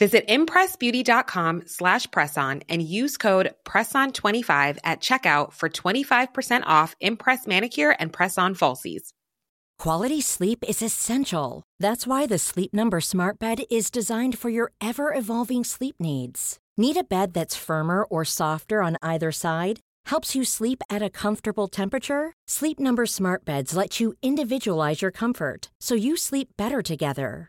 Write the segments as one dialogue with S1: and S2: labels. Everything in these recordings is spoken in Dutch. S1: Visit impressbeauty.com slash presson and use code presson25 at checkout for 25% off Impress manicure and press-on falsies.
S2: Quality sleep is essential. That's why the Sleep Number smart bed is designed for your ever-evolving sleep needs. Need a bed that's firmer or softer on either side? Helps you sleep at a comfortable temperature? Sleep Number smart beds let you individualize your comfort so you sleep better together.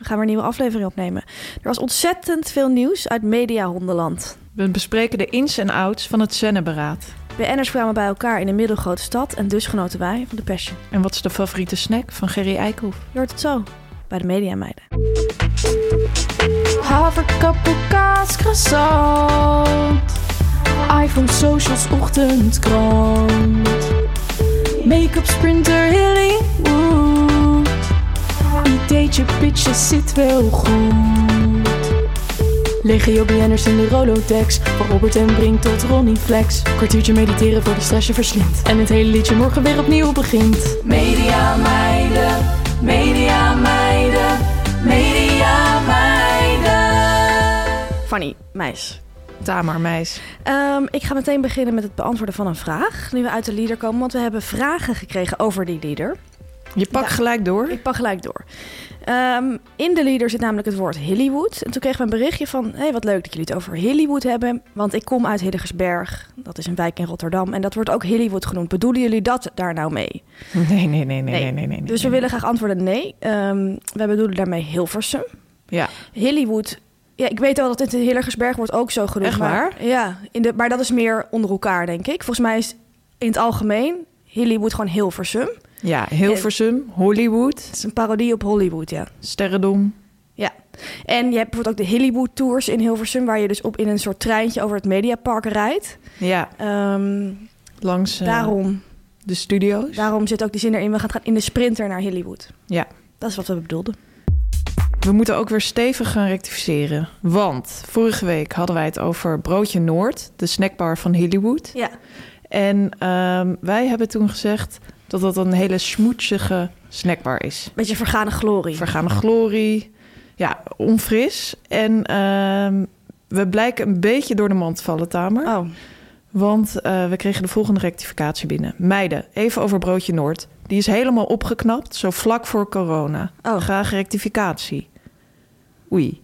S3: We gaan weer een nieuwe aflevering opnemen. Er was ontzettend veel nieuws uit mediahondenland.
S4: We bespreken de ins en outs van het zennenberaad.
S3: BN'ers kwamen bij elkaar in een middelgrote stad en dus genoten wij van de passion.
S4: En wat is de favoriete snack van Gerry Eikhoff?
S3: Je hoort het zo bij de Mediameiden.
S5: Haverkappel, kaas, croissant. iPhone, socials, ochtendkrant. Make-up, sprinter, Hollywood. Ideetje, pitje, zit wel goed. Legio BN'ers in de Rolodex. Van Robert en Brink tot Ronnie Flex. Kwartiertje mediteren voor de stress je verslindt. En het hele liedje morgen weer opnieuw begint. Media meiden, media meiden, media meiden.
S3: Fanny, meis.
S4: Tamar Meis.
S3: Ehm, ik ga meteen beginnen met het beantwoorden van een vraag. Nu we uit de leader komen, want we hebben vragen gekregen over die leader.
S4: Je pakt
S3: Ja.
S4: gelijk door.
S3: Ik pak gelijk door. Ehm, in de leader zit namelijk het woord Hollywood. En toen kregen we een berichtje van... hey, wat leuk dat jullie het over Hollywood hebben. Want ik kom uit Hillegersberg. Dat is een wijk in Rotterdam. En dat wordt ook Hollywood genoemd. Bedoelen jullie dat daar nou mee?
S4: Nee, nee, nee, nee, nee, nee. nee, nee.
S3: Dus we willen graag antwoorden nee. Ehm wij bedoelen daarmee Hilversum.
S4: Ja,
S3: Hollywood... Ja, ik weet wel dat het in Hillegersberg wordt ook zo genoemd.
S4: Echt
S3: Maar, ja, in de, maar dat is meer onder elkaar, denk ik. Volgens mij is in het algemeen Hollywood gewoon Hilversum. Het
S4: ja Hilversum, Hollywood,
S3: is een parodie op Hollywood, ja.
S4: Sterrendom.
S3: Ja. En je hebt bijvoorbeeld ook de Hollywood Tours in Hilversum, waar je dus op in een soort treintje over het Mediapark rijdt.
S4: Ja,
S3: Ehm,
S4: langs eh,
S3: daarom,
S4: de studio's.
S3: daarom zit ook die zin erin. We gaan gaan in de sprinter naar Hollywood.
S4: Ja.
S3: Dat is wat we bedoelden.
S4: We moeten ook weer stevig gaan rectificeren. Want vorige week hadden wij het over Broodje Noord, de snackbar van Hollywood.
S3: Ja.
S4: En ehm, wij hebben toen gezegd dat dat een hele smoetsige snackbar is.
S3: Beetje vergane glorie.
S4: Vergane glorie. Ja, onfris. En ehm, we blijken een beetje door de mand te vallen, Tamer.
S3: oh,
S4: Want eh, we kregen de volgende rectificatie binnen. Meiden, even over Broodje Noord. Die is helemaal opgeknapt, zo vlak voor corona.
S3: Oh.
S4: Graag rectificatie. Oei.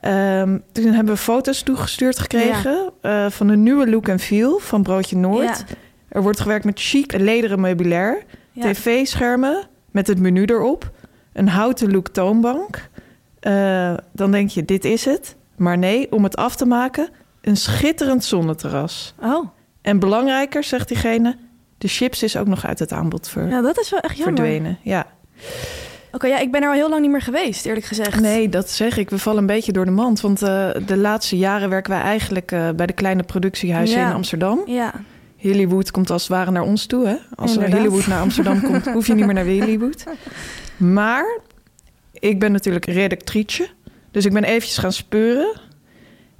S4: Ehm, toen hebben we foto's toegestuurd gekregen eh, van de nieuwe look en feel van Broodje Noord.
S3: Ja.
S4: Er wordt gewerkt met chic lederen meubilair,
S3: Ja.
S4: tv-schermen met het menu erop, een houten look toonbank. Eh, dan denk je, dit is het. Maar nee, om het af te maken, een schitterend zonneterras.
S3: Oh,
S4: En belangrijker, zegt diegene, de chips is ook nog uit het aanbod ver-
S3: ja, Nou, dat is wel echt jammer.
S4: verdwenen. Ja.
S3: Oké, ja, ik ben er al heel lang niet meer geweest, eerlijk gezegd.
S4: Nee, dat zeg ik. We vallen een beetje door de mand. Want eh, de laatste jaren werken wij eigenlijk eh, bij de kleine productiehuizen
S3: Ja.
S4: in Amsterdam.
S3: Ja,
S4: Hollywood komt als het ware naar ons toe. Hè? Als er
S3: Inderdaad.
S4: Hollywood naar Amsterdam komt, hoef je niet meer naar Hollywood. Maar ik ben natuurlijk redactrice. Dus ik ben eventjes gaan speuren.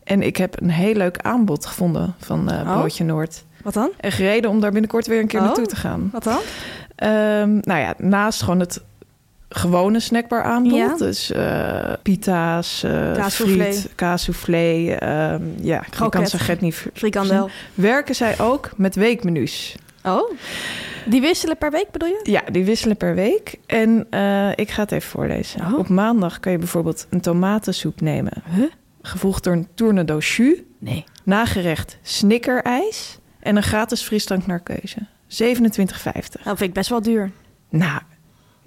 S4: En ik heb een heel leuk aanbod gevonden van eh
S3: Oh.
S4: Broodje Noord.
S3: wat dan?
S4: En gereden om daar binnenkort weer een keer
S3: Oh.
S4: naartoe te gaan.
S3: Wat dan?
S4: Ehm, nou ja, naast gewoon het gewone snackbar aanbod.
S3: Ja.
S4: Dus eh, pita's, eh
S3: Kaassoufflé.
S4: friet, kaassoufflé. ehm ja, ik kan
S3: Kroket.
S4: zijn gek niet ver-
S3: Frikandel.
S4: Werken zij ook met weekmenu's?
S3: Oh, die wisselen per week bedoel je?
S4: Ja, die wisselen per week. En eh, ik ga het even voorlezen.
S3: Oh.
S4: Op maandag kan je bijvoorbeeld een tomatensoep nemen. Gevolgd door een tournado jus.
S3: Nee.
S4: Nagerecht snickerijs. En een gratis frisdrank naar keuze. 27,50.
S3: Dat Nou, vind ik best wel duur.
S4: Nou,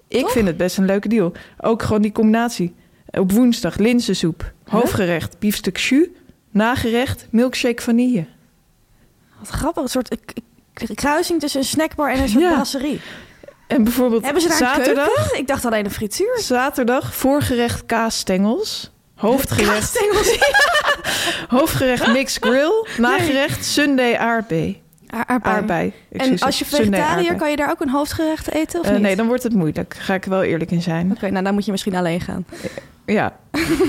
S4: ik
S3: Toch?
S4: vind het best een leuke deal. Ook gewoon die combinatie. Eh, Op woensdag linzensoep, hoofdgerecht, biefstuk jus, nagerecht, milkshake vanille.
S3: Wat grappig, een soort eh, k- k- kruising tussen een snackbar en een soort
S4: Ja.
S3: brasserie.
S4: En bijvoorbeeld
S3: Hebben ze daar
S4: zaterdag,
S3: een keuken? Ik dacht alleen een frituur.
S4: zaterdag voorgerecht kaasstengels, hoofdgerecht,
S3: Kaasstengels.
S4: hoofdgerecht mix grill, nagerecht sundae aardbei.
S3: Aar- aardbei.
S4: aardbei
S3: En
S4: excuses,
S3: als je
S4: sundae
S3: vegetariër,
S4: aardbei.
S3: kan je daar ook een hoofdgerecht eten of
S4: Eh,
S3: niet?
S4: nee, dan wordt het moeilijk. Ga ik er wel eerlijk in zijn.
S3: Oké, nou dan moet je misschien alleen gaan.
S4: Ja.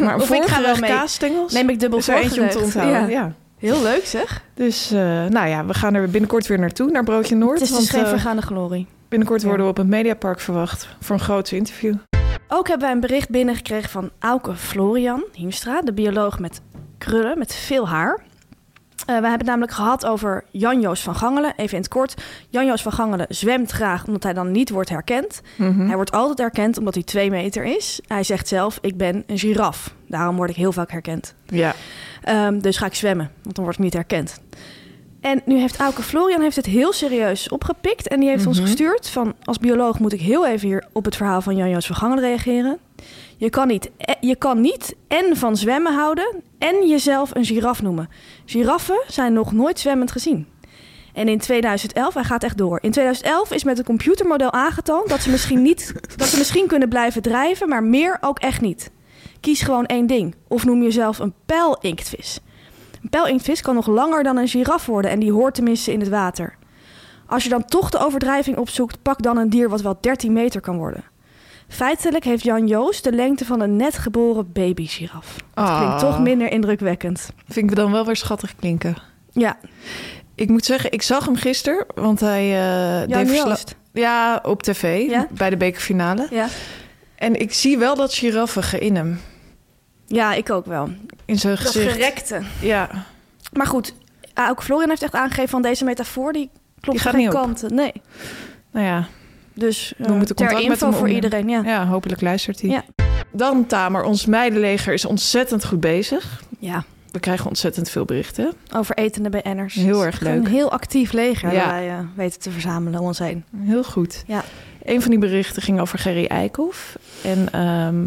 S4: Maar
S3: Of ik ga wel
S4: voorgerecht
S3: mee.
S4: kaasstengels?
S3: Neem ik dubbel
S4: is er eentje om te
S3: voorgerecht.
S4: onthouden. Ja.
S3: Ja. Heel leuk zeg.
S4: Dus eh, nou ja, we gaan er binnenkort weer naartoe, naar Broodje Noord.
S3: Het is dus
S4: want,
S3: geen
S4: eh,
S3: vergaande glorie.
S4: binnenkort
S3: Ja.
S4: worden we op het Mediapark verwacht voor een groot interview.
S3: Ook hebben wij een bericht binnengekregen van Auke Florian Hiemstra, de bioloog met krullen, met veel haar. Eh, we hebben het namelijk gehad over Jan-Joos van Gangelen. Even in het kort. Jan-Joos van Gangelen zwemt graag omdat hij dan niet wordt herkend. Hij wordt altijd herkend omdat hij twee meter is. Hij zegt zelf, ik ben een giraf. Daarom word ik heel vaak herkend.
S4: Ja.
S3: Ehm, dus ga ik zwemmen, want dan word ik niet herkend. En nu heeft Auke Florian heeft het heel serieus opgepikt. En die heeft ons gestuurd van... als bioloog moet ik heel even hier op het verhaal van Jan-Joos van Gangelen reageren. Je kan, niet, eh, je kan niet en van zwemmen houden en jezelf een giraf noemen. Giraffen zijn nog nooit zwemmend gezien. En in 2011, hij gaat echt door. In 2011 is met een computermodel aangetoond dat ze misschien, niet, dat ze misschien kunnen blijven drijven, maar meer ook echt niet. Kies gewoon één ding. Of noem jezelf een pijlinktvis. Een pijlinktvis kan nog langer dan een giraf worden en die hoort tenminste in het water. Als je dan toch de overdrijving opzoekt, pak dan een dier wat wel 13 meter kan worden. Feitelijk heeft Jan Joos de lengte van een net geboren babygiraf. Dat
S4: Ah.
S3: klinkt toch minder indrukwekkend.
S4: Vind ik dan wel weer schattig klinken.
S3: Ja,
S4: Ik moet zeggen, ik zag hem gisteren, want hij eh
S3: Jan
S4: deed verslag.
S3: Joost.
S4: Ja, op tv,
S3: Ja?
S4: bij de bekerfinale.
S3: Ja.
S4: En ik zie wel dat giraffige in hem,
S3: ja, ik ook wel.
S4: in zijn
S3: Dat
S4: gezicht.
S3: gerekte.
S4: Ja,
S3: Maar goed, ook Florian heeft echt aangegeven van deze metafoor, die klopt
S4: gaat
S3: geen
S4: niet op.
S3: kanten. Nee.
S4: nou ja,
S3: Dus eh,
S4: We moeten
S3: ter
S4: contact met
S3: info
S4: hem
S3: voor
S4: opnemen.
S3: iedereen, ja.
S4: ja, hopelijk luistert hij.
S3: Ja.
S4: Dan Tamer, ons meidenleger is ontzettend goed bezig.
S3: ja.
S4: We krijgen ontzettend veel berichten.
S3: Over etende BN'ers.
S4: Heel erg
S3: Het is gewoon
S4: leuk.
S3: Een heel actief leger
S4: Ja.
S3: dat wij eh, weten te verzamelen om ons heen.
S4: Heel goed.
S3: Ja.
S4: Een van die berichten ging over Gerry Eikhoff. En ehm,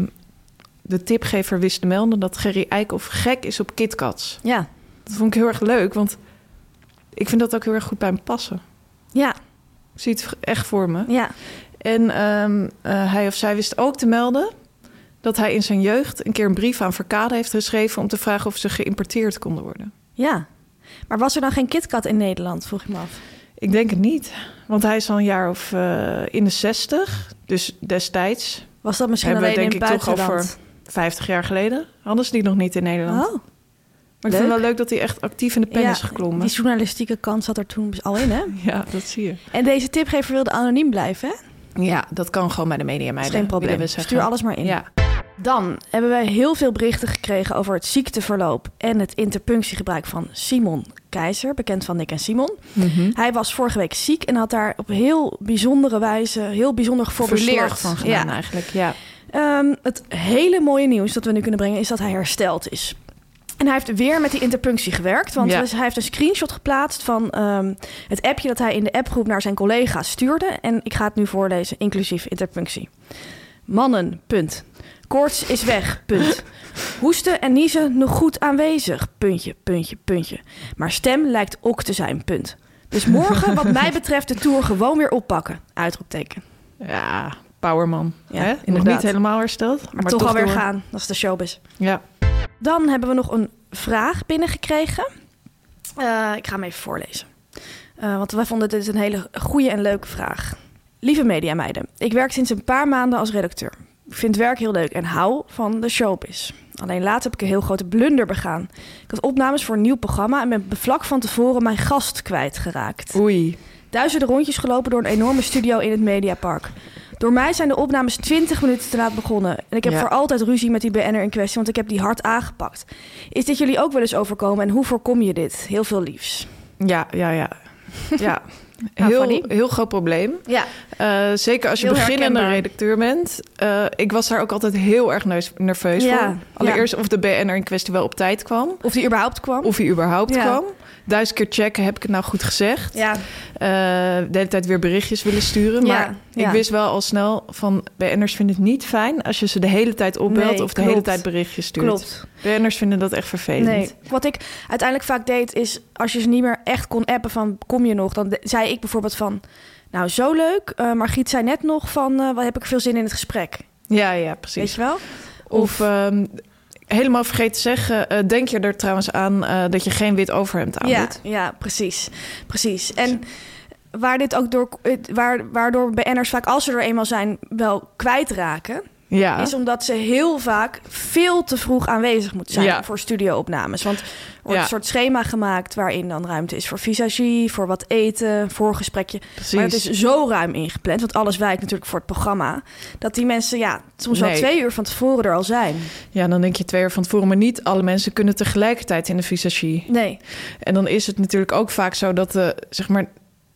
S4: de tipgever wist te melden dat Gerry Eikhoff gek is op KitKats.
S3: Ja.
S4: Dat vond ik heel erg leuk, want ik vind dat ook heel erg goed bij hem passen.
S3: Ja,
S4: Ik zie het echt voor me.
S3: ja.
S4: En ehm, eh, hij of zij wist ook te melden dat hij in zijn jeugd een keer een brief aan Verkade heeft geschreven om te vragen of ze geïmporteerd konden worden.
S3: Ja. Maar was er dan geen KitKat in Nederland, vroeg ik me af.
S4: Ik denk het niet, want hij is al een jaar of eh, in de zestig, dus destijds,
S3: Was dat misschien
S4: Hebben we
S3: alleen
S4: denk
S3: in
S4: ik
S3: het
S4: toch over
S3: buitenland?
S4: 50 jaar geleden, hadden ze die nog niet in Nederland.
S3: Oh,
S4: maar ik vind
S3: leuk.
S4: wel leuk dat hij echt actief in de pen
S3: ja.
S4: is geklommen.
S3: Die journalistieke kant zat er toen al in, hè?
S4: Ja, dat zie je.
S3: En deze tipgever wilde anoniem blijven, hè?
S4: Ja, dat kan gewoon bij de media
S3: Dat is
S4: meiden.
S3: geen probleem. Stuur alles maar in.
S4: Ja.
S3: Dan hebben wij heel veel berichten gekregen over het ziekteverloop en het interpunctiegebruik van Simon Keizer, bekend van Nick en Simon.
S4: Mhm.
S3: Hij was vorige week ziek en had daar op heel bijzondere wijze, heel bijzonder geformuleerd.
S4: Verslag van gedaan
S3: Ja.
S4: eigenlijk. Ja.
S3: Ehm, het hele mooie nieuws dat we nu kunnen brengen is dat hij hersteld is. En hij heeft weer met die interpunctie gewerkt. Want
S4: Ja.
S3: dus hij heeft een screenshot geplaatst van ehm, het appje dat hij in de appgroep naar zijn collega's stuurde. En ik ga het nu voorlezen, inclusief interpunctie. Mannen, punt. Koorts is weg, punt. Hoesten en niezen nog goed aanwezig, puntje, puntje, puntje. Maar stem lijkt ook te zijn, punt. Dus morgen, wat mij betreft, de tour gewoon weer oppakken. Uitroepteken.
S4: Ja, Powerman.
S3: Ja,
S4: hè? Nog
S3: inderdaad.
S4: niet helemaal hersteld, maar,
S3: Maar, toch, alweer
S4: door.
S3: gaan, dat is de showbiz.
S4: Ja.
S3: Dan hebben we nog een vraag binnengekregen. Eh, ik ga hem even voorlezen. Eh, want wij vonden dit een hele goede en leuke vraag. Lieve mediameiden, ik werk sinds een paar maanden als redacteur. Ik vind werk heel leuk en hou van de showbiz. Alleen laat heb ik een heel grote blunder begaan. Ik had opnames voor een nieuw programma en ben vlak van tevoren mijn gast kwijtgeraakt.
S4: Oei.
S3: Duizenden rondjes gelopen door een enorme studio in het Mediapark. Door mij zijn de opnames 20 minuten te laat begonnen. En ik heb
S4: Ja.
S3: voor altijd ruzie met die BN'er in kwestie, want ik heb die hard aangepakt. Is dit jullie ook wel eens overkomen en hoe voorkom je dit? Heel veel liefs.
S4: Ja, ja, ja. ja.
S3: Nou,
S4: Heel,
S3: Fanny?
S4: heel groot probleem.
S3: Ja.
S4: Eh, zeker als je
S3: Heel
S4: beginnende
S3: herkenbaar.
S4: redacteur bent. Eh, ik was daar ook altijd heel erg neus- nerveus
S3: Ja,
S4: voor. Allereerst of de BN'er in kwestie wel op tijd kwam.
S3: Of die überhaupt kwam.
S4: Of hij überhaupt
S3: Ja.
S4: kwam. Duizend keer checken, heb ik het nou goed gezegd?
S3: ja.
S4: Eh, de hele tijd weer berichtjes willen sturen.
S3: Ja,
S4: Maar
S3: ja.
S4: ik wist wel al snel van... BN'ers vinden het niet fijn als je ze de hele tijd opbelt...
S3: Nee,
S4: of de
S3: klopt.
S4: hele tijd berichtjes stuurt.
S3: Klopt.
S4: BN'ers vinden dat echt vervelend.
S3: Nee. Wat ik uiteindelijk vaak deed is als je ze niet meer echt kon appen van kom je nog, dan de- zei ik bijvoorbeeld van nou zo leuk, eh Margriet zei net nog van eh, wat heb ik veel zin in het gesprek,
S4: Ja, ja,
S3: weet
S4: precies.
S3: je wel?
S4: Of ehm, helemaal vergeten te zeggen... eh, denk je er trouwens aan eh, dat je geen wit overhemd aan
S3: ja,
S4: doet?
S3: ja, precies, precies. En waar dit ook door het- waar, waardoor BN'ers vaak als ze er eenmaal zijn wel kwijtraken,
S4: Ja.
S3: is omdat ze heel vaak veel te vroeg aanwezig moeten zijn
S4: Ja.
S3: voor studioopnames. Want er wordt
S4: Ja.
S3: een soort schema gemaakt waarin dan ruimte is voor visagie, voor wat eten, voor gesprekje.
S4: Precies.
S3: Maar het is zo ruim ingepland, want alles wijkt natuurlijk voor het programma, dat die mensen ja, soms al
S4: Nee.
S3: twee uur van tevoren er al zijn.
S4: Ja, dan denk je twee uur van tevoren. Maar niet alle mensen kunnen tegelijkertijd in de visagie.
S3: Nee,
S4: En dan is het natuurlijk ook vaak zo dat de, zeg maar,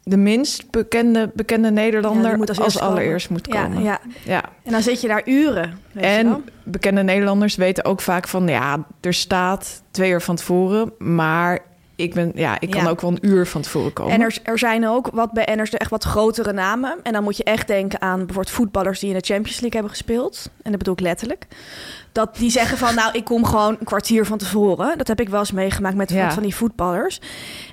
S4: de minst bekende, bekende Nederlander
S3: die moet
S4: als,
S3: als eerste
S4: allereerst moet
S3: ja,
S4: komen.
S3: ja.
S4: Ja.
S3: En dan zit je daar uren. Weet je wel.
S4: En bekende Nederlanders weten ook vaak van, ja, er staat twee uur van tevoren, maar ik, ben, ja, ik kan
S3: Ja.
S4: ook wel een uur van tevoren komen.
S3: En er, er zijn ook wat BN'ers, de echt wat grotere namen. En dan moet je echt denken aan bijvoorbeeld voetballers die in de Champions League hebben gespeeld. En dat bedoel ik letterlijk. Dat die zeggen van, nou, ik kom gewoon een kwartier van tevoren. Dat heb ik wel eens meegemaakt met
S4: Ja.
S3: van die voetballers.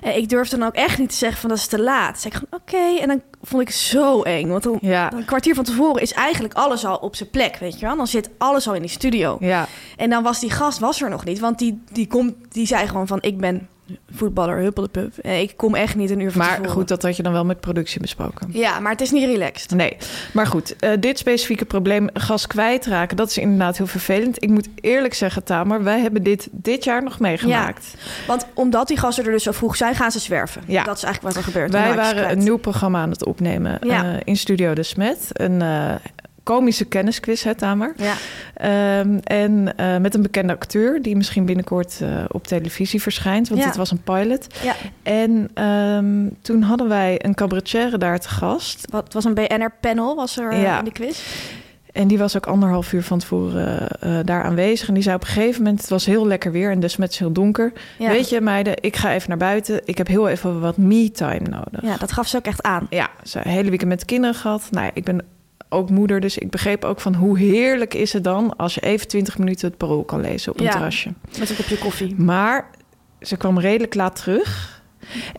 S3: En ik durfde dan ook echt niet te zeggen van, dat is te laat. Dan zei ik gewoon, oké. En dan vond ik het zo eng. Want dan,
S4: Ja.
S3: dan een kwartier van tevoren is eigenlijk alles al op zijn plek, weet je wel. Dan zit alles al in die studio.
S4: Ja,
S3: En dan was die gast was er nog niet. Want die, die, komt, die zei gewoon van... ik ben voetballer, huppelepup. Eh, Ik kom echt niet een uur van
S4: maar
S3: tevoren.
S4: goed, dat had je dan wel met productie besproken.
S3: Ja, maar het is niet relaxed.
S4: Nee, maar goed, eh, dit specifieke probleem gas kwijtraken, dat is inderdaad heel vervelend. Ik moet eerlijk zeggen, Tamer, wij hebben dit dit jaar nog meegemaakt.
S3: Want omdat die gasten er dus zo vroeg zijn, gaan ze zwerven.
S4: Ja.
S3: Dat is eigenlijk wat er gebeurt. Dan
S4: Wij
S3: raak je ze
S4: waren
S3: kwijt.
S4: een nieuw programma aan het opnemen
S3: Ja.
S4: eh, in Studio De Smet. Een eh, komische kennisquiz, hè Tamer?
S3: Ja.
S4: Ehm, en eh, met een bekende acteur die misschien binnenkort eh, op televisie verschijnt. Want
S3: Ja.
S4: dit was een pilot.
S3: ja,
S4: En ehm, toen hadden wij een cabaretière daar te gast.
S3: wat het was een BNR-panel was er eh,
S4: Ja.
S3: in de quiz.
S4: En die was ook anderhalf uur van tevoren eh, eh, daar aanwezig. En die zei op een gegeven moment, het was heel lekker weer en de Smet is heel donker.
S3: Ja.
S4: Weet je meiden, ik ga even naar buiten. Ik heb heel even wat me-time nodig.
S3: Ja, dat gaf ze ook echt aan.
S4: ja, ze een hele weekend met de kinderen gehad. Nou, ja, ik ben ook moeder, dus ik begreep ook van hoe heerlijk is het dan als je even 20 minuten het parool kan lezen op een
S3: Ja.
S4: terrasje.
S3: Met een kopje koffie.
S4: Maar ze kwam redelijk laat terug.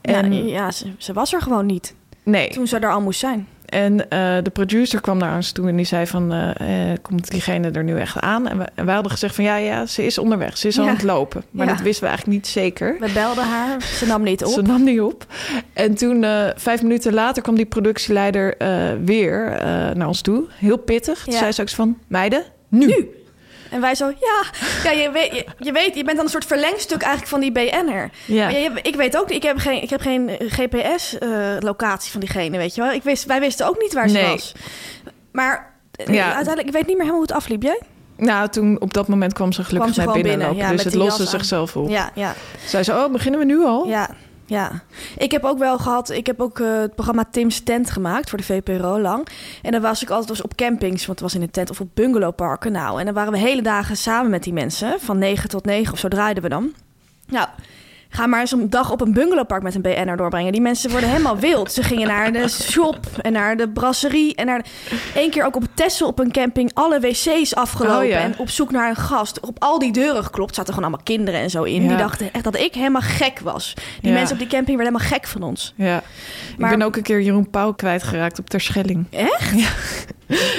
S4: En
S3: En... ja, ze, ze was er gewoon niet.
S4: nee,
S3: Nou, Toen ze er al moest zijn.
S4: en eh, de producer kwam naar ons toe en die zei van, eh, eh, komt diegene er nu echt aan? En, we- en wij hadden gezegd van, ja, ja, ze is onderweg, ze is al
S3: Ja.
S4: aan het lopen. Maar
S3: Ja.
S4: dat wisten we eigenlijk niet zeker.
S3: We belden haar, ze nam niet
S4: Ze
S3: op.
S4: nam die op. En toen, eh, vijf minuten later, kwam die productieleider eh, weer eh, naar ons toe. Heel pittig. Toen
S3: Ja.
S4: zei ze ook zo van, meiden, nu.
S3: En wij zo, ja, ja je, weet, je, je weet, je bent dan een soort verlengstuk eigenlijk van die BN'er.
S4: Ja.
S3: Maar je- ik weet ook niet, ik heb geen, ik heb geen eh, GPS-locatie eh, van diegene, weet je wel. Ik wist, wij wisten ook niet waar ze
S4: Nee.
S3: was. Maar eh,
S4: Ja.
S3: uiteindelijk, ik weet niet meer helemaal hoe het afliep, jij?
S4: Nou, toen op dat moment kwam ze gelukkig
S3: Kwam ze
S4: net
S3: gewoon
S4: binnenlopen.
S3: binnen, ja, met
S4: dus het
S3: die
S4: loste
S3: jas aan.
S4: zichzelf op.
S3: Ja, ja,
S4: Zei ze, oh, beginnen we nu al?
S3: ja, ja. Ik heb ook wel gehad, ik heb ook eh, het programma Tim's Tent gemaakt voor de VPRO lang. En dan was ik altijd was op campings, want het was in een tent, of op bungalowparken. Nou, en dan waren we hele dagen samen met die mensen, van 9 tot 9 of zo draaiden we dan. Nou, ga maar eens een dag op een bungalowpark met een BN'er doorbrengen. Die mensen worden helemaal wild. Ze gingen naar de shop en naar de brasserie. En naar één keer ook op Tessel op een camping alle wc's afgelopen.
S4: Oh ja.
S3: En op zoek naar een gast. Op al die deuren geklopt. Zaten gewoon allemaal kinderen en zo in.
S4: Ja.
S3: Die dachten echt dat ik helemaal gek was. Die
S4: Ja.
S3: mensen op die camping werden helemaal gek van ons.
S4: Ja.
S3: Maar-
S4: Ik ben ook een keer Jeroen Pauw kwijtgeraakt op Terschelling.
S3: Echt?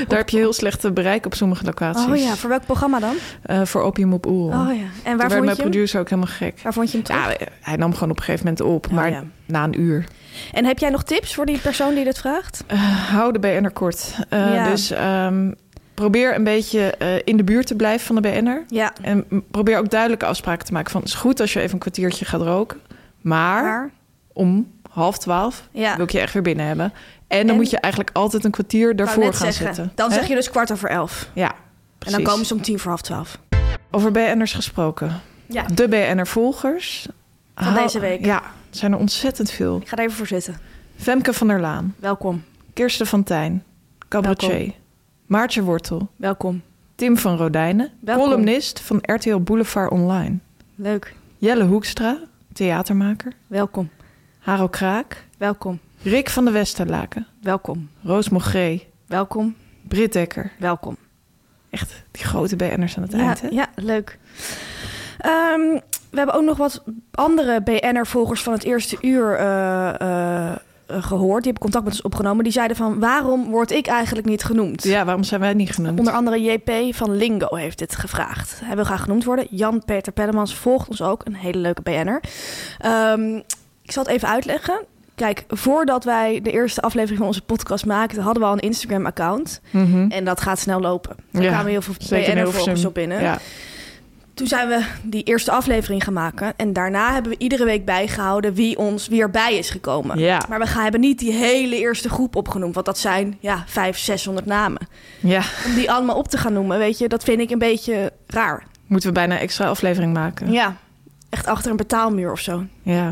S4: Daar heb je heel slecht bereik op sommige locaties.
S3: Oh ja, voor welk programma dan?
S4: Eh, voor Opium op Oerol.
S3: Oh ja. En waar
S4: Toen werd
S3: vond
S4: mijn
S3: je hem?
S4: producer ook helemaal gek.
S3: Waar vond je hem terug?
S4: Ja, hij nam gewoon op een gegeven moment op,
S3: Oh
S4: maar
S3: ja.
S4: na een uur.
S3: En heb jij nog tips voor die persoon die dat vraagt?
S4: Eh, hou de BN'er kort. Eh,
S3: Ja.
S4: Dus ehm, probeer een beetje eh, in de buurt te blijven van de BN'er.
S3: Ja.
S4: En m- probeer ook duidelijke afspraken te maken. Van, het is goed als je even een kwartiertje gaat roken. Maar,
S3: Maar?
S4: om half twaalf
S3: Ja.
S4: wil ik je echt weer binnen hebben. En dan
S3: En-
S4: moet je eigenlijk altijd een kwartier
S3: Ik wou
S4: daarvoor
S3: net
S4: gaan
S3: zeggen.
S4: zitten.
S3: Dan
S4: Hè?
S3: zeg je dus kwart over elf.
S4: Ja,
S3: En
S4: precies.
S3: dan komen ze om tien voor half twaalf.
S4: Over BN'ers gesproken.
S3: Ja.
S4: De BN'er-volgers.
S3: Van deze week.
S4: Ja, zijn er ontzettend veel.
S3: Ik ga er even voor zitten.
S4: Femke van der Laan,
S3: Welkom,
S4: Kirsten van Tijn, cabaretier, Maartje Wortel,
S3: welkom.
S4: Tim van Rodijnen,
S3: Welkom.
S4: columnist van RTL Boulevard Online,
S3: Leuk,
S4: Jelle Hoekstra, theatermaker,
S3: welkom,
S4: Haro Kraak,
S3: welkom,
S4: Rick van de Westerlaken,
S3: welkom,
S4: Roos Mogree,
S3: welkom,
S4: Britt Dekker.
S3: welkom.
S4: Echt die grote BN'ers aan het
S3: ja,
S4: eind, hè?
S3: Ja, leuk. Ehm, we hebben ook nog wat andere BN'er-volgers van het eerste uur eh, eh, eh, gehoord. Die hebben contact met ons opgenomen. Die zeiden van, waarom word ik eigenlijk niet genoemd?
S4: Ja, waarom zijn wij niet genoemd?
S3: Onder andere JP van Lingo heeft dit gevraagd. Hij wil graag genoemd worden. Jan-Peter Pellemans volgt ons ook. Een hele leuke BN'er. Ehm, ik zal het even uitleggen. Kijk, voordat wij de eerste aflevering van onze podcast maakten... hadden we al een Instagram-account.
S4: Mhm.
S3: En dat gaat snel lopen. Er
S4: Ja,
S3: kwamen heel veel
S4: Zeker in
S3: BN'er-volgers
S4: Hilversum.
S3: op binnen.
S4: Ja.
S3: Toen zijn we die eerste aflevering gaan maken. En daarna hebben we iedere week bijgehouden wie ons weer bij is gekomen.
S4: Ja.
S3: Maar we gaan, hebben niet die hele eerste groep opgenoemd. Want dat zijn ja, 500, 600 namen.
S4: ja,
S3: Om die allemaal op te gaan noemen, weet je, dat vind ik een beetje raar.
S4: moeten we bijna een extra aflevering maken.
S3: Ja. Echt achter een betaalmuur of zo.
S4: Ja.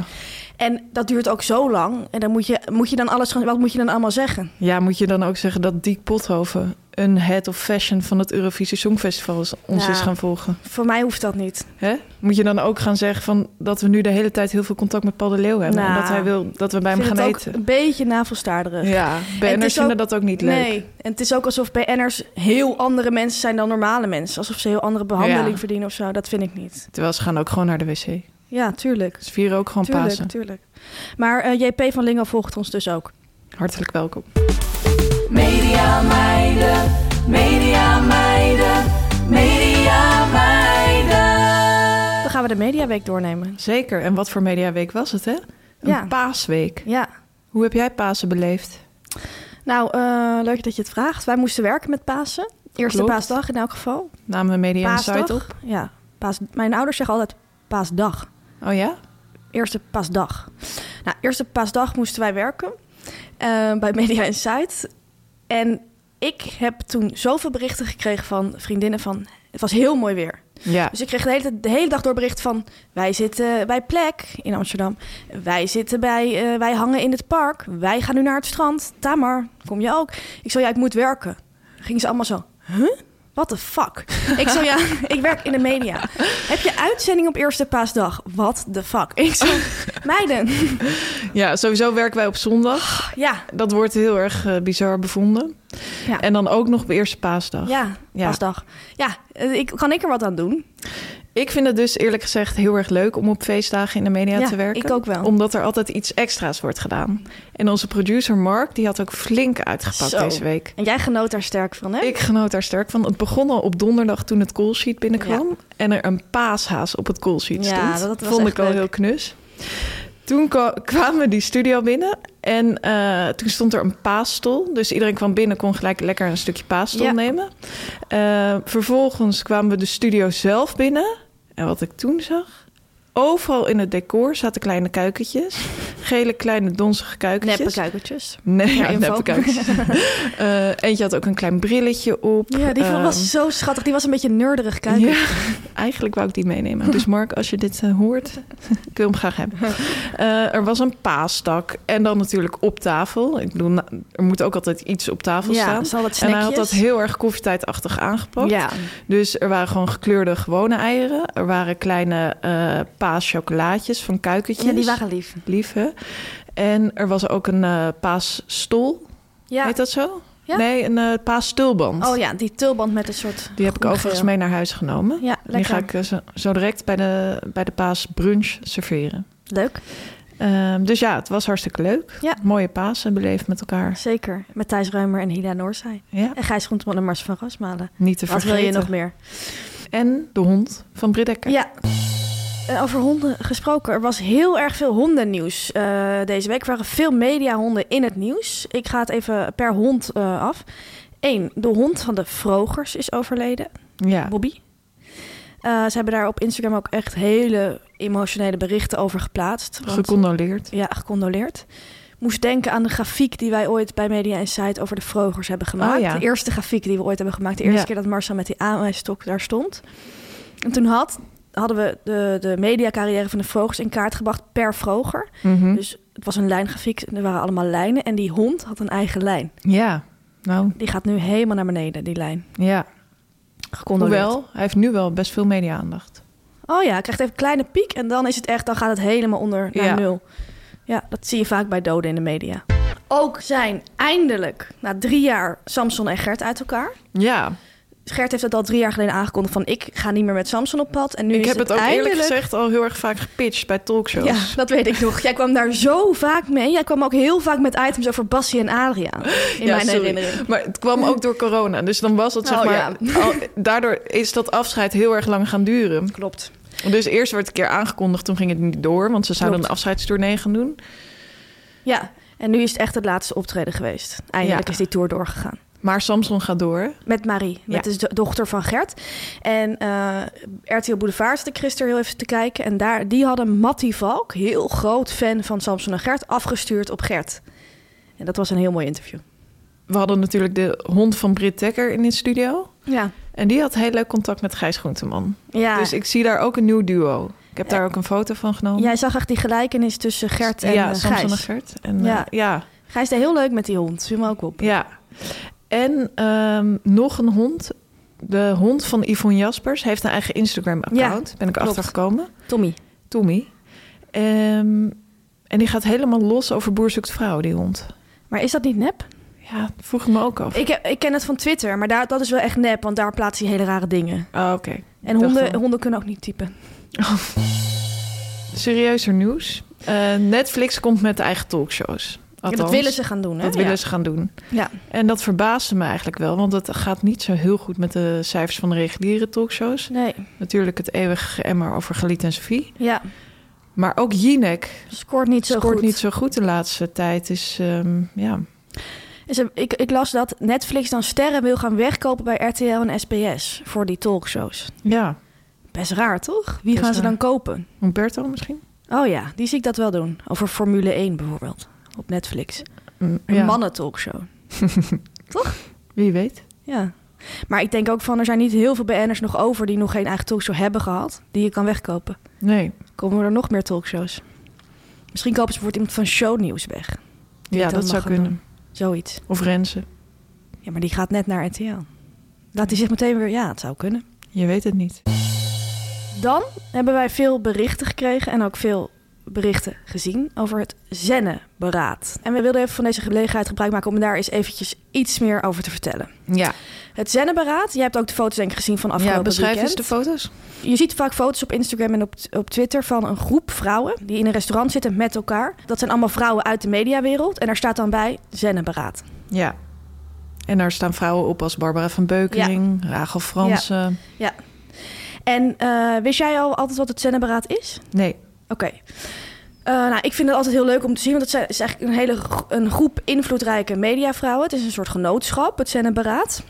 S3: En dat duurt ook zo lang. En dan moet je, moet je dan alles gaan. Wat moet je dan allemaal zeggen?
S4: Ja, moet je dan ook zeggen dat Diek Pothoven een head of fashion van het Eurovisie Songfestival is- ons
S3: Ja.
S4: is gaan volgen?
S3: Voor mij hoeft dat niet.
S4: Hè? Moet je dan ook gaan zeggen van dat we nu de hele tijd heel veel contact met Paul de Leeuw hebben?
S3: Nou,
S4: en dat hij wil dat we bij hem
S3: ik vind
S4: gaan
S3: het ook
S4: eten.
S3: een beetje navelstaarderig.
S4: Ja,
S3: het
S4: BN'ers
S3: is
S4: vinden
S3: ook-
S4: dat ook niet leuk.
S3: Nee, en het is ook alsof BN'ers heel andere mensen zijn dan normale mensen. Alsof ze heel andere behandeling
S4: Ja.
S3: verdienen of zo. Dat vind ik niet.
S4: Terwijl ze gaan ook gewoon naar de wc.
S3: Ja, tuurlijk.
S4: Ze vieren ook gewoon
S3: Tuurlijk,
S4: Pasen.
S3: tuurlijk. Maar eh, JP van Lingo volgt ons dus ook.
S4: Hartelijk welkom.
S5: Media meiden, media meiden, media meiden.
S3: Dan gaan we de Mediaweek doornemen.
S4: Zeker. En wat voor mediaweek was het, hè? Een
S3: Ja.
S4: paasweek.
S3: Ja.
S4: Hoe heb jij Pasen beleefd?
S3: Nou, eh, leuk dat je het vraagt. Wij moesten werken met Pasen. Eerste
S4: Klopt.
S3: paasdag in elk geval.
S4: Namen we media en site op?
S3: paasdag. Ja. Paas, mijn ouders zeggen altijd paasdag.
S4: Oh ja?
S3: Eerste paasdag. Nou, eerste paasdag moesten wij werken eh, bij Media Insight. En ik heb toen zoveel berichten gekregen van vriendinnen van... Het was heel mooi weer.
S4: Ja.
S3: Dus ik kreeg de hele, tijd- de hele dag door bericht van... wij zitten bij Plek in Amsterdam. Wij, zitten bij, eh, wij hangen in het park. Wij gaan nu naar het strand. Tamar, kom je ook? Ik zei, ja, ik moet werken. Gingen ze allemaal zo... Huh? What the fuck? Ik zei, ja, ik werk in de media. Heb je uitzending op Eerste Paasdag? What the fuck? Ik zei, meiden,
S4: ja, sowieso werken wij op zondag.
S3: ja,
S4: Dat wordt heel erg eh, bizar bevonden.
S3: Ja.
S4: En dan ook nog op eerste paasdag.
S3: ja,
S4: Ja.
S3: paasdag. Ja, eh, ik, kan ik er wat aan doen?
S4: Ik vind het dus eerlijk gezegd heel erg leuk om op feestdagen in de media
S3: Ja,
S4: te werken.
S3: ik ook wel.
S4: Omdat er altijd iets extra's wordt gedaan. En onze producer Mark, die had ook flink uitgepakt
S3: Zo.
S4: deze week.
S3: En jij genoot daar sterk van, hè?
S4: Ik genoot daar sterk van. Het begon al op donderdag toen het callsheet binnenkwam. En er een paashaas op het callsheet
S3: Ja,
S4: stond.
S3: dat was
S4: Vond
S3: echt
S4: ik al
S3: leuk.
S4: heel knus. Toen kwa- kwamen we die studio binnen en eh, toen stond er een paasstol. Dus iedereen kwam binnen, kon gelijk lekker een stukje paasstol
S3: Ja.
S4: nemen. Eh, vervolgens kwamen we de studio zelf binnen. En wat ik toen zag, overal in het decor zaten kleine kuikentjes. Gele kleine donzige kuikentjes.
S3: Neppe kuikertjes.
S4: Nee, ja,
S3: info.
S4: neppe kuikentjes. Eh, eentje had ook een klein brilletje op.
S3: Ja, die
S4: Ehm,
S3: was zo schattig. Die was een beetje nerderig kijken.
S4: Ja, eigenlijk wou ik die meenemen. Dus Mark, als je dit eh, hoort, ik wil hem graag hebben. Eh, er was een paastak en dan natuurlijk op tafel. Ik bedoel, na- er moet ook altijd iets op tafel
S3: ja,
S4: staan.
S3: dus al dat
S4: En hij
S3: snackjes.
S4: had dat heel erg koffietijdachtig aangepakt.
S3: Ja,
S4: Dus er waren gewoon gekleurde gewone eieren. Er waren kleine eh paaschocolaatjes van kuikentjes.
S3: ja, die waren lief.
S4: lief, hè? En er was ook een eh, paasstol,
S3: Ja.
S4: heet dat zo?
S3: Ja.
S4: Nee, een eh paasstulband.
S3: Oh ja, die tulband met een soort...
S4: Die heb ik
S3: groen-geel.
S4: overigens mee naar huis genomen.
S3: Ja,
S4: En Die ga
S3: lekker.
S4: ik eh, zo, zo direct bij de, bij de paasbrunch serveren.
S3: Leuk,
S4: Ehm, dus ja, het was hartstikke leuk.
S3: Ja.
S4: Mooie Pasen beleefd met elkaar.
S3: zeker. Met Thijs Ruimer en Hila Noorsai.
S4: Ja,
S3: En Gijs Groenteman en Mars van Rasmalen.
S4: niet te
S3: Wat
S4: vergeten.
S3: wil je nog meer?
S4: En de hond van Briddekker.
S3: Ja. Eh, Over honden gesproken, er was heel erg veel hondennieuws eh, deze week. Er waren veel mediahonden in het nieuws. Ik ga het even per hond eh, af. Eén, de hond van de Vrogers is overleden.
S4: Ja.
S3: Bobby. Eh, ze hebben daar op Instagram ook echt hele emotionele berichten over geplaatst. Want-
S4: Gecondoleerd.
S3: ja, gecondoleerd. Moest denken aan de grafiek die wij ooit bij Media Insight over de Vrogers hebben gemaakt.
S4: Oh ja.
S3: De eerste grafiek die we ooit hebben gemaakt. De eerste
S4: Ja.
S3: keer dat Marcel met die aanwijsstok daar stond. En toen had hadden we de, de mediacarrière van de Vrogers in kaart gebracht per Vroger.
S4: Mhm.
S3: Dus het was een lijngrafiek, en er waren allemaal lijnen. En die hond had een eigen lijn.
S4: Ja, nou,
S3: Die gaat nu helemaal naar beneden, die lijn.
S4: ja.
S3: Gecondoleerd.
S4: Hoewel, hij heeft nu wel best veel media-aandacht.
S3: Oh ja, hij krijgt even een kleine piek en dan is het echt, dan gaat het helemaal onder naar
S4: Ja.
S3: nul. Ja, dat zie je vaak bij doden in de media. Ook zijn eindelijk na drie jaar Samson en Gert uit elkaar.
S4: Ja,
S3: Gert heeft het al drie jaar geleden aangekondigd van ik ga niet meer met Samson op pad. En nu
S4: ik
S3: is
S4: heb het ook
S3: eindelijk...
S4: eerlijk gezegd al heel erg vaak gepitcht bij talkshows.
S3: Ja, dat weet ik nog. Jij kwam daar zo vaak mee. Jij kwam ook heel vaak met items over Bassie en Adriaan. In
S4: Ja,
S3: mijn
S4: sorry.
S3: herinnering.
S4: Maar het kwam ook door corona. Dus dan was het, zeg
S3: Oh,
S4: maar... al- daardoor is dat afscheid heel erg lang gaan duren.
S3: Klopt.
S4: Dus eerst werd het een keer aangekondigd, toen ging het niet door. Want ze zouden
S3: Klopt.
S4: een afscheidstournee gaan doen.
S3: Ja, en nu is het echt het laatste optreden geweest. Eindelijk
S4: Ja.
S3: is die tour doorgegaan.
S4: Maar Samson gaat door.
S3: Met Marie, met
S4: Ja.
S3: de do- dochter van Gert. En eh RTL Boulevard zat ik gisteren heel even te kijken. En daar, die hadden Mattie Valk, heel groot fan van Samson en Gert, afgestuurd op Gert. En dat was een heel mooi interview.
S4: We hadden natuurlijk de hond van Britt Dekker in de studio.
S3: Ja.
S4: En die had heel leuk contact met Gijs Groenteman.
S3: ja.
S4: Dus ik zie daar ook een nieuw duo. Ik heb daar ook een foto van genomen.
S3: Jij zag echt die gelijkenis tussen Gert en
S4: ja,
S3: eh,
S4: Samson en
S3: Gijs.
S4: Gert. En,
S3: Ja.
S4: ja. ja,
S3: Gijs deed heel leuk met die hond, viel me ook op.
S4: ja. En ehm, nog een hond. De hond van Yvonne Jaspers heeft een eigen Instagram-account. ben ik
S3: klopt.
S4: achtergekomen.
S3: Tommy.
S4: Tommy. Ehm, en die gaat helemaal los over Boer zoekt vrouw, die hond.
S3: Maar is dat niet nep?
S4: Ja, dat vroeg ik me ook af.
S3: Ik, heb- ik ken het van Twitter, maar daar, dat is wel echt nep, want daar plaatst hij hele rare dingen.
S4: Oh, Oké.
S3: En
S4: Dacht
S3: honden,
S4: al.
S3: honden kunnen ook niet typen.
S4: Serieuzer nieuws. Eh, Netflix komt met eigen talkshows.
S3: En
S4: Althans,
S3: dat willen ze gaan doen, hè?
S4: Dat willen
S3: Ja.
S4: ze gaan doen.
S3: Ja.
S4: En dat verbaasde me eigenlijk wel, want het gaat niet zo heel goed met de cijfers van de reguliere talkshows.
S3: Nee,
S4: Natuurlijk het eeuwige geëmmer over Galit en Sophie.
S3: ja.
S4: Maar ook Jinek
S3: Scoort niet zo
S4: scoort
S3: goed.
S4: niet zo goed de laatste tijd. Is, ehm, ja.
S3: En ze- Ik, ik las dat Netflix dan sterren wil gaan wegkopen bij RTL en SBS voor die talkshows.
S4: ja,
S3: Best raar, toch? Wie
S4: Best
S3: gaan ze
S4: raar.
S3: dan kopen?
S4: Humberto misschien?
S3: Oh ja, die zie ik dat wel doen. Over Formule 1 bijvoorbeeld, op Netflix.
S4: Mm,
S3: Een
S4: ja.
S3: mannen talkshow.
S4: Wie weet.
S3: Ja. Maar ik denk ook van, er zijn niet heel veel BN'ers nog over... die nog geen eigen talkshow hebben gehad, die je kan wegkopen.
S4: Nee.
S3: Komen er nog meer talkshows? Misschien kopen ze bijvoorbeeld iemand van shownieuws weg.
S4: Ja,
S3: dan
S4: dat zou
S3: mag het
S4: kunnen.
S3: Zoiets.
S4: Of Rensen.
S3: Ja, maar die gaat net naar RTL. Laat die zich meteen weer... Ja, het zou kunnen.
S4: Je weet het niet.
S3: Dan hebben wij veel berichten gekregen en ook veel berichten gezien over het zennenberaad. En we wilden even van deze gelegenheid gebruik maken om daar eens eventjes iets meer over te vertellen.
S4: Ja,
S3: Het zennenberaad, jij hebt ook de foto's denk ik gezien van afgelopen
S4: ja beschrijf eens
S3: weekend.
S4: de foto's.
S3: Je ziet vaak foto's op Instagram en op, op Twitter van een groep vrouwen die in een restaurant zitten met elkaar. Dat zijn allemaal vrouwen uit de mediawereld en daar staat dan bij zennenberaad.
S4: Ja. En daar staan vrouwen op als Barbara van Beukering, Rachel Fransen.
S3: Ja. En eh, wist jij al altijd wat het zennenberaad is?
S4: Nee.
S3: Oké. Eh, nou, ik vind het altijd heel leuk om te zien, want het zijn- is eigenlijk een hele gro- een groep invloedrijke mediavrouwen. Het is een soort genootschap, het Zennenberaad.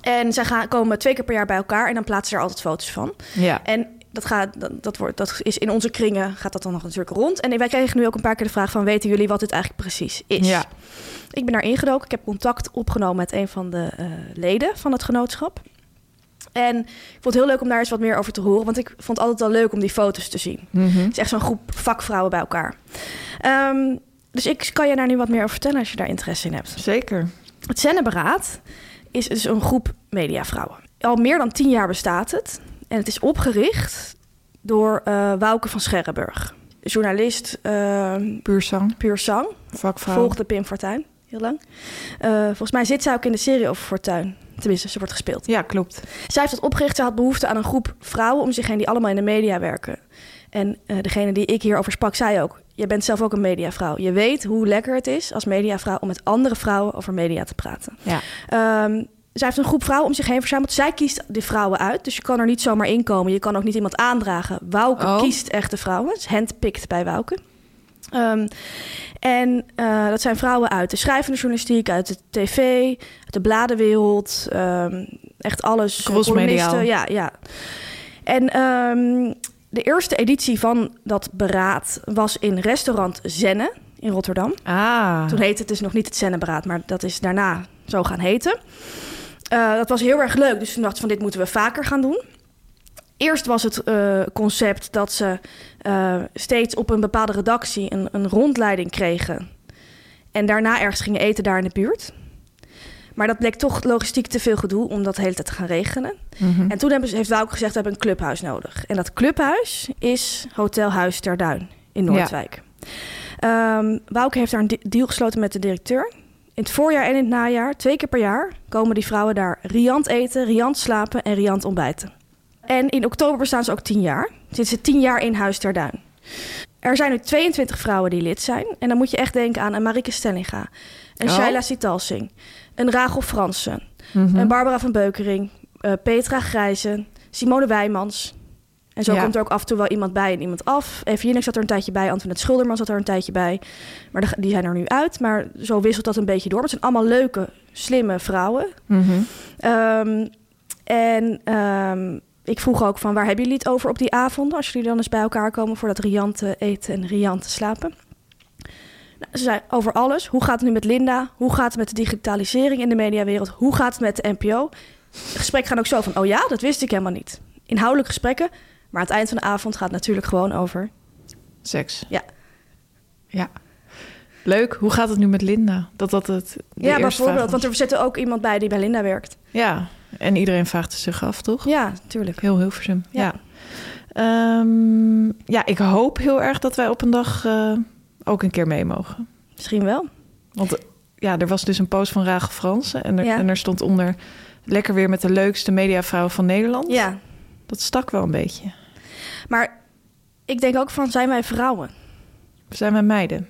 S3: En zij gaan, komen twee keer per jaar bij elkaar en dan plaatsen ze er altijd foto's van.
S4: Ja.
S3: En dat, gaat, dat, dat, wordt, dat is in onze kringen gaat dat dan nog natuurlijk rond. En wij kregen nu ook een paar keer de vraag van... weten jullie wat dit eigenlijk precies is?
S4: Ja.
S3: Ik ben daar ingedoken. Ik heb contact opgenomen met een van de eh, leden van het genootschap. En ik vond het heel leuk om daar eens wat meer over te horen. Want ik vond het altijd al leuk om die foto's te zien.
S4: Mhm.
S3: Het is echt zo'n groep vakvrouwen bij elkaar. Ehm, dus ik kan je daar nu wat meer over vertellen als je daar interesse in hebt.
S4: Zeker.
S3: Het Zenneberaad is dus een groep mediavrouwen. Al meer dan tien jaar bestaat het. En het is opgericht door eh Wouke van Scherrenburg. Journalist, eh,
S4: Puur zang,
S3: puur zang.
S4: vakvrouw.
S3: Volgde Pim Fortuyn heel lang. Eh, volgens mij zit zij ook in de serie over Fortuyn. Tenminste, ze wordt gespeeld.
S4: Ja, klopt.
S3: Zij heeft dat opgericht. Ze had behoefte aan een groep vrouwen om zich heen die allemaal in de media werken. En eh, degene die ik hierover sprak, zei ook... Je bent zelf ook een mediavrouw. Je weet hoe lekker het is als mediavrouw om met andere vrouwen over media te praten.
S4: Ja.
S3: Ehm, zij heeft een groep vrouwen om zich heen verzameld. Zij kiest de vrouwen uit, dus je kan er niet zomaar inkomen. Je kan ook niet iemand aandragen. Wouke
S4: Oh.
S3: kiest echt de vrouwen. Het is handpicked bij Wouke. Ehm, en eh, dat zijn vrouwen uit de schrijvende journalistiek, uit de tv, uit de bladenwereld. ehm, echt alles.
S4: Crossmediaal.
S3: Columnisten, Ja, ja. En ehm, de eerste editie van dat beraad was in restaurant Zenne in Rotterdam.
S4: Ah.
S3: Toen heette het dus nog niet het Zenneberaad, maar dat is daarna zo gaan heten. Eh, dat was heel erg leuk, dus toen dacht ik van dit moeten we vaker gaan doen. Eerst was het eh, concept dat ze eh, steeds op een bepaalde redactie een, een rondleiding kregen. En daarna ergens gingen eten daar in de buurt. Maar dat bleek toch logistiek te veel gedoe om dat de hele tijd te gaan regenen. En toen hebben ze, heeft Wauke gezegd, we hebben een clubhuis nodig. En dat clubhuis is Hotel Huis Ter Duin in
S4: Ja.
S3: Noordwijk. Ehm Wauke heeft daar een de- deal gesloten met de directeur. In het voorjaar en in het najaar, twee keer per jaar, komen die vrouwen daar riant eten, riant slapen en riant ontbijten. En in oktober bestaan ze ook tien jaar. Zitten ze tien jaar in Huis Ter Duin. Er zijn nu 22 vrouwen die lid zijn. En dan moet je echt denken aan een Marike Stellinga, een
S4: Oh. Mhm.
S3: Shaila Sitalsing, een Rachel Fransen, en Barbara van Beukering, eh, Petra Grijze, Simone Wijmans. En zo
S4: Ja.
S3: komt er ook af en toe wel iemand bij en iemand af. Even Jinek zat er een tijdje bij, Antoinette Schulderman zat er een tijdje bij. Maar de- die zijn er nu uit. Maar zo wisselt dat een beetje door. Maar het zijn allemaal leuke, slimme vrouwen.
S4: Mhm.
S3: Ehm, en ehm, ik vroeg ook van waar hebben jullie het over op die avonden? Als jullie dan eens bij elkaar komen voor dat riante eten en riante slapen. Nou, ze zei over alles. Hoe gaat het nu met Linda? Hoe gaat het met de digitalisering in de mediawereld? Hoe gaat het met de NPO? De gesprekken gaan ook zo van, oh ja, dat wist ik helemaal niet. Inhoudelijke gesprekken, maar aan het eind van de avond gaat het natuurlijk gewoon over.
S4: Seks.
S3: Ja.
S4: Ja. Leuk. Hoe gaat het nu met Linda? Dat dat het de
S3: ja,
S4: eerste
S3: bijvoorbeeld,
S4: vraag was.
S3: want er zit ook iemand bij die bij Linda werkt.
S4: Ja, en iedereen vraagt het zich af, toch?
S3: Ja, natuurlijk.
S4: Heel Hilversum, ja.
S3: Ja.
S4: Ja. Ehm, ja, ik hoop heel erg dat wij op een dag eh, ook een keer mee mogen.
S3: Misschien wel.
S4: Want eh, ja, er was dus een post van Rage Fransen en er,
S3: Ja.
S4: en er stond onder... lekker weer met de leukste mediavrouw van Nederland.
S3: Ja,
S4: Dat stak wel een beetje.
S3: maar ik denk ook van, zijn wij vrouwen?
S4: We zijn wij meiden.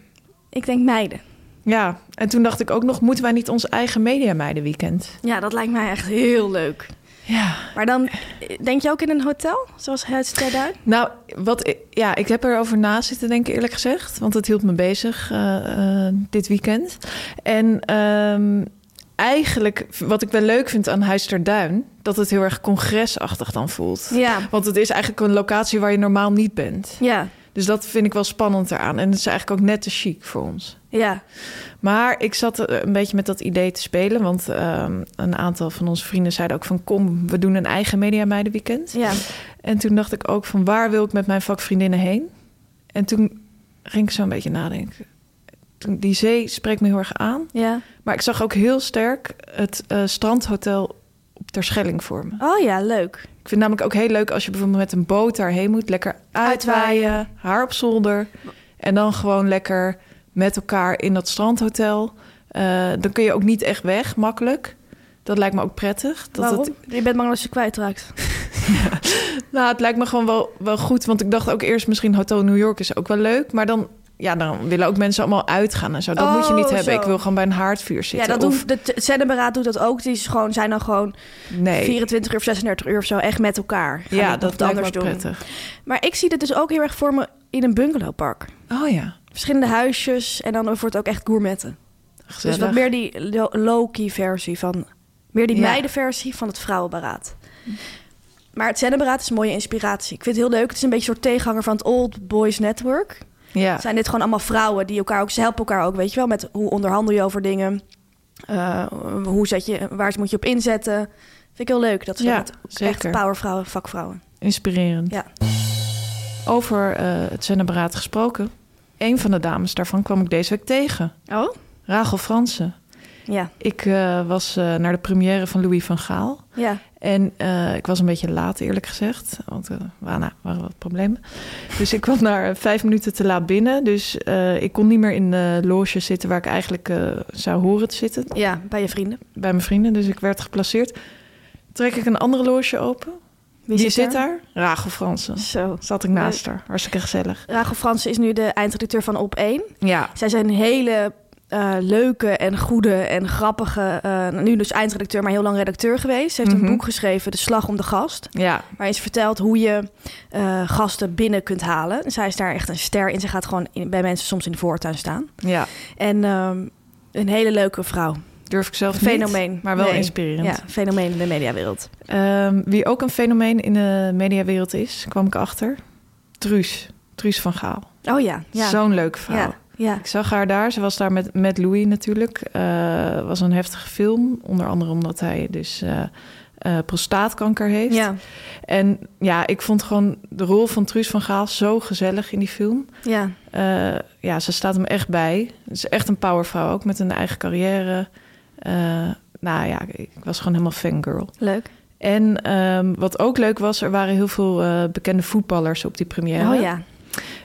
S3: Ik denk meiden.
S4: Ja, en toen dacht ik ook nog, moeten wij niet ons eigen mediameidenweekend?
S3: Ja, dat lijkt mij echt heel leuk.
S4: Ja,
S3: Maar dan eh, denk je ook in een hotel, zoals Huis ter Duin?
S4: Nou, wat ik, ja, ik heb erover na zitten denken, eerlijk gezegd. Want het hield me bezig eh, eh, dit weekend. En ehm, eigenlijk, wat ik wel leuk vind aan Huis ter Duin... dat het heel erg congresachtig dan voelt.
S3: Ja.
S4: Want het is eigenlijk een locatie waar je normaal niet bent.
S3: Ja,
S4: Dus dat vind ik wel spannend eraan. En het is eigenlijk ook net te chic voor ons.
S3: ja.
S4: Maar ik zat eh, een beetje met dat idee te spelen. Want ehm, een aantal van onze vrienden zeiden ook van... kom, we doen een eigen Media Meidenweekend.
S3: Ja.
S4: En toen dacht ik ook van waar wil ik met mijn vakvriendinnen heen? En toen ging ik zo een beetje nadenken. Toen, die zee spreekt me heel erg aan.
S3: ja.
S4: Maar ik zag ook heel sterk het eh, strandhotel op Terschelling voor me.
S3: Oh ja, leuk.
S4: Ik vind het namelijk ook heel leuk als je bijvoorbeeld met een boot daarheen moet. Lekker uitwaaien, haar op zolder. En dan gewoon lekker met elkaar in dat strandhotel. Eh, dan kun je ook niet echt weg, makkelijk. Dat lijkt me ook prettig. Dat
S3: Waarom?
S4: Het,
S3: Je bent bang dat ze kwijtraakt.
S4: Nou, het lijkt me gewoon wel, wel goed. Want ik dacht ook eerst misschien Hotel New York is ook wel leuk. Maar dan, ja, dan willen ook mensen allemaal uitgaan en zo. Dat moet je niet
S3: Oh,
S4: hebben.
S3: zo.
S4: Ik wil gewoon bij een haardvuur
S3: Ja,
S4: zitten.
S3: dat
S4: Of-
S3: doet, de, het Zendenberaad doet dat ook. Die is gewoon, zijn dan gewoon
S4: nee.
S3: 24 uur of 36 uur of zo echt met elkaar. Gaan
S4: ja,
S3: het
S4: dat
S3: wat
S4: lijkt me ook prettig.
S3: Maar ik zie dit dus ook heel erg voor me in een bungalowpark.
S4: Oh ja,
S3: Verschillende huisjes en dan wordt het ook echt gourmetten.
S4: gezellig.
S3: Dus wat meer die lo- low-key versie van... Meer die
S4: Ja.
S3: meidenversie van het vrouwenberaad. Maar het zendenberaad is een mooie inspiratie. Ik vind het heel leuk. Het is een beetje een soort tegenhanger van het Old Boys Network.
S4: Ja,
S3: Zijn dit gewoon allemaal vrouwen die elkaar ook... Ze helpen elkaar ook, weet je wel, met hoe onderhandel je over dingen. eh, hoe zet je, waar moet je op inzetten. Vind ik heel leuk. Dat ze
S4: Ja,
S3: dat met echt
S4: zeker.
S3: powervrouwen, vakvrouwen.
S4: inspirerend.
S3: Ja.
S4: Over eh het Zenneberaad gesproken. Een van de dames daarvan kwam ik deze week tegen.
S3: Oh?
S4: Rachel Fransen.
S3: Ja,
S4: Ik eh, was eh, naar de première van Louis van Gaal.
S3: ja.
S4: En eh, ik was een beetje laat, eerlijk gezegd. Want eh, wa- nou, waren wat problemen. Dus ik kwam daar vijf minuten te laat binnen. Dus eh, ik kon niet meer in de loge zitten waar ik eigenlijk eh, zou horen te zitten.
S3: Ja, bij je vrienden.
S4: Bij mijn vrienden. Dus ik werd geplaceerd. Trek ik een andere loge open.
S3: Wie
S4: Wie zit daar? Rachel Fransen.
S3: Zo.
S4: Zat ik naast haar. Hartstikke gezellig.
S3: Rachel Fransen is nu de eindredacteur van Op 1.
S4: Ja.
S3: Zij zijn hele eh, leuke en goede en grappige, eh, nu dus eindredacteur, maar heel lang redacteur geweest. Ze heeft
S4: Mhm.
S3: een boek geschreven, De Slag om de Gast,
S4: Ja.
S3: waarin ze vertelt hoe je eh, gasten binnen kunt halen. En Zij is daar echt een ster in. Ze gaat gewoon in- bij mensen soms in de voortuin staan.
S4: Ja.
S3: En ehm, een hele leuke vrouw.
S4: Durf ik zelf niet.
S3: Fenomeen.
S4: Maar wel
S3: Nee.
S4: inspirerend.
S3: Ja, een fenomeen in de mediawereld.
S4: Ehm, wie ook een fenomeen in de mediawereld is, kwam ik achter. Truus. Truus van Gaal.
S3: Oh ja, ja.
S4: Zo'n leuke vrouw.
S3: ja, ja.
S4: Ik zag haar daar. Ze was daar met, met Louis natuurlijk. Eh was een heftige film. Onder andere omdat hij dus eh, eh, prostaatkanker heeft.
S3: Ja.
S4: En ja, ik vond gewoon de rol van Truus van Gaal zo gezellig in die film.
S3: Ja.
S4: Eh, ja, ze staat hem echt bij. Ze is echt een powervrouw, ook met een eigen carrière. Eh, nou ja, ik was gewoon helemaal fangirl.
S3: Leuk.
S4: En ehm, wat ook leuk was, er waren heel veel eh, bekende voetballers op die première.
S3: Oh ja.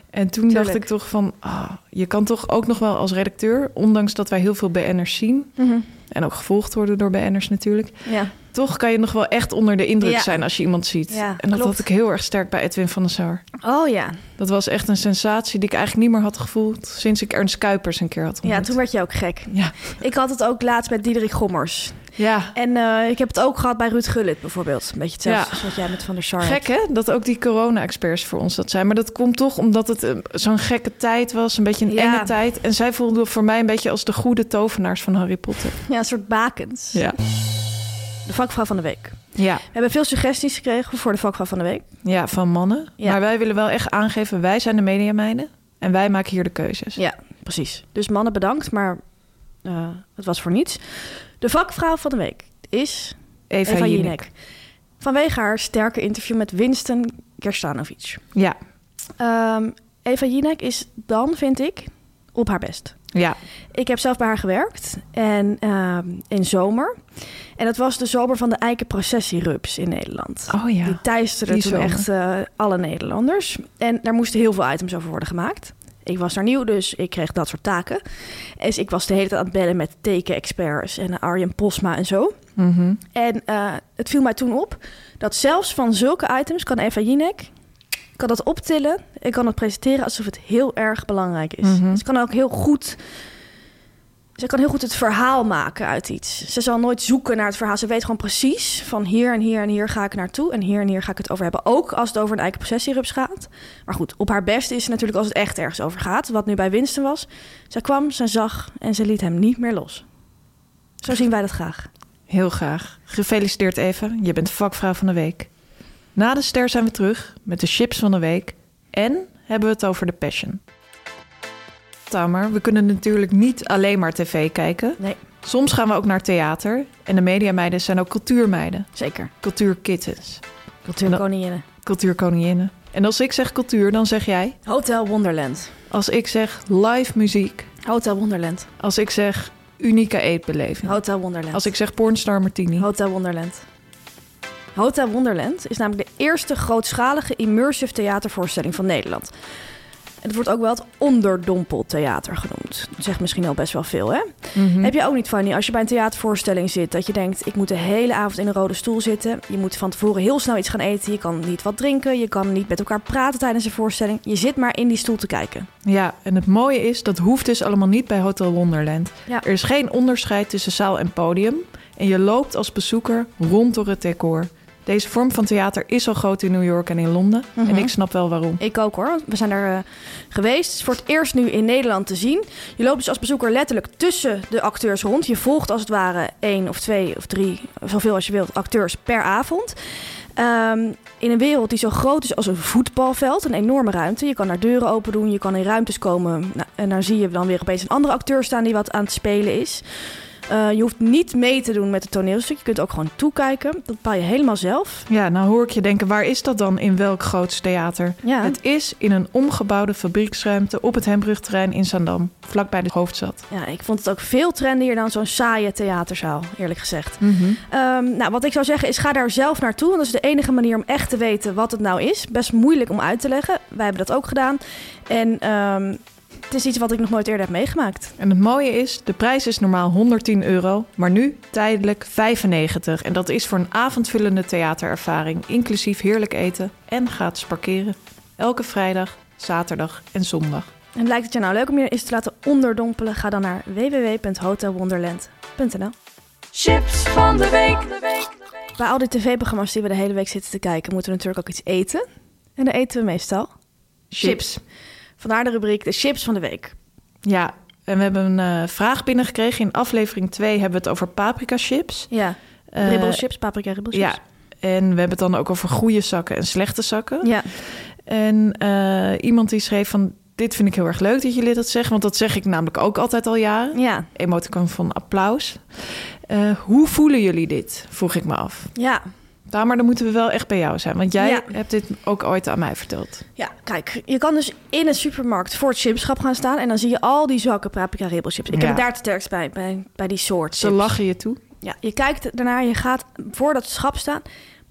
S4: En toen dacht
S3: Tuurlijk.
S4: ik toch van, ah, je kan toch ook nog wel als redacteur, ondanks dat wij heel veel BN'ers zien
S3: Mhm.
S4: en ook gevolgd worden door BN'ers natuurlijk,
S3: Ja.
S4: toch kan je nog wel echt onder de indruk
S3: Ja.
S4: zijn als je iemand ziet.
S3: Ja,
S4: en dat
S3: klopt.
S4: had ik heel erg sterk bij Edwin van der Sar.
S3: Oh ja.
S4: Dat was echt een sensatie die ik eigenlijk niet meer had gevoeld sinds ik Ernst Kuipers een keer had
S3: Ja,
S4: ontmoet.
S3: toen werd je ook gek.
S4: Ja.
S3: Ik had het ook laatst met Diederik Gommers.
S4: Ja.
S3: En eh, ik heb het ook gehad bij Ruud Gullit bijvoorbeeld. Een beetje hetzelfde
S4: Ja.
S3: als wat jij met Van der Sar hebt.
S4: Gek hè, dat ook die corona-experts voor ons dat zijn. Maar dat komt toch omdat het eh, zo'n gekke tijd was, een beetje een
S3: Ja.
S4: enge tijd. En zij voelden voor mij een beetje als de goede tovenaars van Harry Potter.
S3: Ja, een soort bakens.
S4: Ja.
S3: De vakvrouw van de week.
S4: Ja.
S3: We hebben veel suggesties gekregen voor de vakvrouw van de week.
S4: Ja, van mannen.
S3: Ja.
S4: Maar wij willen wel echt aangeven, wij zijn de mediameiden. En wij maken hier de keuzes.
S3: Ja, precies. Dus mannen bedankt, maar eh, het was voor niets. De vakvrouw van de week is
S4: Eva,
S3: Eva
S4: Jinek.
S3: Jinek. Vanwege haar sterke interview met Winston Kerstanovic.
S4: Ja,
S3: Ehm, Eva Jinek is dan, vind ik, op haar best.
S4: ja,
S3: Ik heb zelf bij haar gewerkt en ehm, in zomer. En dat was de zomer van de eikenprocessierups in Nederland.
S4: Oh ja,
S3: Die teisterde
S4: die
S3: toen
S4: zomer.
S3: echt eh, alle Nederlanders. En daar moesten heel veel items over worden gemaakt. Ik was daar nieuw, dus ik kreeg dat soort taken. Dus ik was de hele tijd aan het bellen met teken-experts en Arjen Posma en zo.
S4: Mhm.
S3: En eh, het viel mij toen op dat zelfs van zulke items kan Eva Jinek kan dat optillen en kan het presenteren alsof het heel erg belangrijk is.
S4: Mhm.
S3: Ze kan ook heel goed. Ze kan heel goed het verhaal maken uit iets. Ze zal nooit zoeken naar het verhaal. Ze weet gewoon precies van hier en hier en hier ga ik naartoe. En hier en hier ga ik het over hebben. Ook als het over een eigen processierups gaat. Maar goed, op haar best is het natuurlijk als het echt ergens over gaat. Wat nu bij Winston was. Ze kwam, ze zag en ze liet hem niet meer los. Zo zien wij dat graag.
S4: heel graag. Gefeliciteerd Eva, je bent vakvrouw van de week. Na de ster zijn we terug met de chips van de week. En hebben we het over de passion. Tamer, we kunnen natuurlijk niet alleen maar tv kijken.
S3: Nee,
S4: Soms gaan we ook naar theater. En de mediameiden zijn ook cultuurmeiden.
S3: zeker.
S4: Cultuurkittens.
S3: Cultuurkoninginnen.
S4: Cultuurkoninginnen. En als ik zeg cultuur, dan zeg jij...
S3: Hotel Wonderland.
S4: Als ik zeg live muziek.
S3: Hotel Wonderland.
S4: Als ik zeg unieke eetbeleving.
S3: Hotel Wonderland.
S4: Als ik zeg pornstar martini.
S3: Hotel Wonderland. Hotel Wonderland is namelijk de eerste grootschalige immersive theatervoorstelling van Nederland. Het wordt ook wel het onderdompeltheater genoemd. Dat zegt misschien al best wel veel, hè? Heb je ook niet, Fanny, als je bij een theatervoorstelling zit... dat je denkt, ik moet de hele avond in een rode stoel zitten. Je moet van tevoren heel snel iets gaan eten. Je kan niet wat drinken. Je kan niet met elkaar praten tijdens een voorstelling. Je zit maar in die stoel te kijken.
S4: Ja, en het mooie is, dat hoeft dus allemaal niet bij Hotel Wonderland.
S3: Ja.
S4: Er is geen onderscheid tussen zaal en podium. En je loopt als bezoeker rond door het decor. Deze vorm van theater is al groot in New York en in Londen.
S3: Mhm.
S4: En ik snap wel waarom.
S3: Ik ook hoor. want We zijn er eh, geweest. Het is voor het eerst nu in Nederland te zien. Je loopt dus als bezoeker letterlijk tussen de acteurs rond. Je volgt als het ware één of twee of drie, zoveel als je wilt, acteurs per avond. Ehm, in een wereld die zo groot is als een voetbalveld, een enorme ruimte. Je kan daar deuren open doen, je kan in ruimtes komen. Nou, en daar zie je dan weer opeens een andere acteur staan die wat aan het spelen is. Eh, je hoeft niet mee te doen met het toneelstuk. Je kunt ook gewoon toekijken. Dat bepaal je helemaal zelf.
S4: Ja, nou hoor ik je denken, waar is dat dan in welk groots theater?
S3: Ja.
S4: Het is in een omgebouwde fabrieksruimte op het Hembrugterrein in Zaandam, vlakbij de hoofdstad.
S3: Ja, ik vond het ook veel trendier dan zo'n saaie theaterzaal, eerlijk gezegd. Ehm, nou, wat ik zou zeggen is, ga daar zelf naartoe. Want dat is de enige manier om echt te weten wat het nou is. Best moeilijk om uit te leggen. Wij hebben dat ook gedaan. En ehm, het is iets wat ik nog nooit eerder heb meegemaakt.
S4: En het mooie is, de prijs is normaal 110 euro, maar nu tijdelijk 95. En dat is voor een avondvullende theaterervaring, inclusief heerlijk eten en gratis parkeren. Elke vrijdag, zaterdag en zondag.
S3: En lijkt het je nou leuk om je eens te laten onderdompelen? Ga dan naar www.hotelwonderland.nl
S5: Chips van de week.
S3: Bij al die tv-programma's die we de hele week zitten te kijken... moeten we natuurlijk ook iets eten. En dan eten we meestal. Chips. Vandaar de rubriek de chips van de week.
S4: Ja, en we hebben een eh, vraag binnengekregen. In aflevering 2 hebben we het over paprika chips.
S3: Ja,
S4: Eh,
S3: ribbelchips, paprika ribbelchips.
S4: Ja, en we hebben het dan ook over goede zakken en slechte zakken.
S3: Ja.
S4: En eh, iemand die schreef van... dit vind ik heel erg leuk dat jullie dat zeggen. Want dat zeg ik namelijk ook altijd al jaren.
S3: Ja,
S4: Emoticon van applaus. Eh, hoe voelen jullie dit? Vroeg ik me af.
S3: ja.
S4: Tamar, dan moeten we wel echt bij jou zijn. Want jij
S3: Ja.
S4: hebt dit ook ooit aan mij verteld.
S3: Ja, kijk, je kan dus in een supermarkt voor het chipschap gaan staan en dan zie je al die zakken paprika ribbelchips. Ik
S4: Ja.
S3: heb het daar te sterkst bij, bij, bij die soort
S4: Ze
S3: chips.
S4: lachen je toe.
S3: Ja, je kijkt ernaar, je gaat voor dat schap staan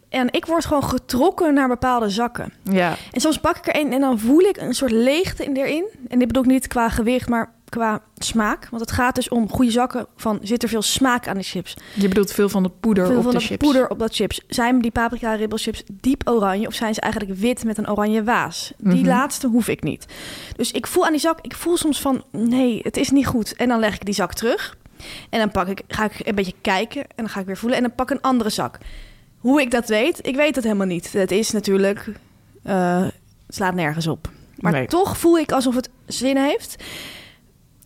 S3: en ik word gewoon getrokken naar bepaalde zakken.
S4: Ja.
S3: En soms pak ik er een en dan voel ik een soort leegte in erin. En dit bedoel ik niet qua gewicht, maar qua smaak. Want het gaat dus om goede zakken van zit er veel smaak aan de chips.
S4: Je bedoelt veel van de poeder
S3: Veel
S4: op
S3: van
S4: de
S3: dat
S4: chips.
S3: poeder op dat chips. Zijn die paprika ribbelchips diep oranje of zijn ze eigenlijk wit met een oranje waas? Die
S4: Mhm.
S3: laatste hoef ik niet. Dus ik voel aan die zak, ik voel soms van nee, het is niet goed. En dan leg ik die zak terug. En dan pak ik, ga ik een beetje kijken en dan ga ik weer voelen. En dan pak ik een andere zak. Hoe ik dat weet, ik weet dat helemaal niet. Het is natuurlijk, eh, het slaat nergens op. Maar
S4: Nee.
S3: toch voel ik alsof het zin heeft.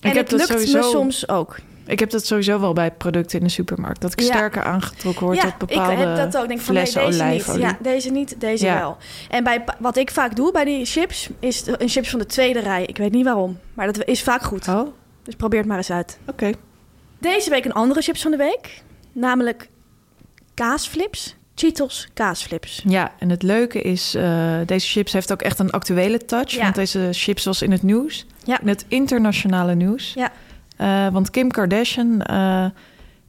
S3: En
S4: heb
S3: het
S4: dat
S3: lukt me
S4: sowieso-
S3: soms ook.
S4: Ik heb dat sowieso wel bij producten in de supermarkt. Dat ik
S3: Ja.
S4: sterker aangetrokken word tot bepaalde
S3: ik heb dat ook. Ik Denk van, nee,
S4: flessen
S3: deze
S4: olijfolie.
S3: Niet. Ja, deze niet, deze
S4: Ja.
S3: wel. En bij, pa- wat ik vaak doe bij die chips, is de- een chips van de tweede rij. Ik weet niet waarom, maar dat is vaak goed.
S4: Oh, oké.
S3: Dus probeer het maar eens uit. Deze week een andere chips van de week. Namelijk kaasflips. Cheetos kaasflips.
S4: Ja, en het leuke is, eh, deze chips heeft ook echt een actuele touch.
S3: Ja.
S4: Want deze chips was in het nieuws.
S3: Ja.
S4: In het internationale nieuws.
S3: Ja.
S4: Eh, want Kim Kardashian, eh,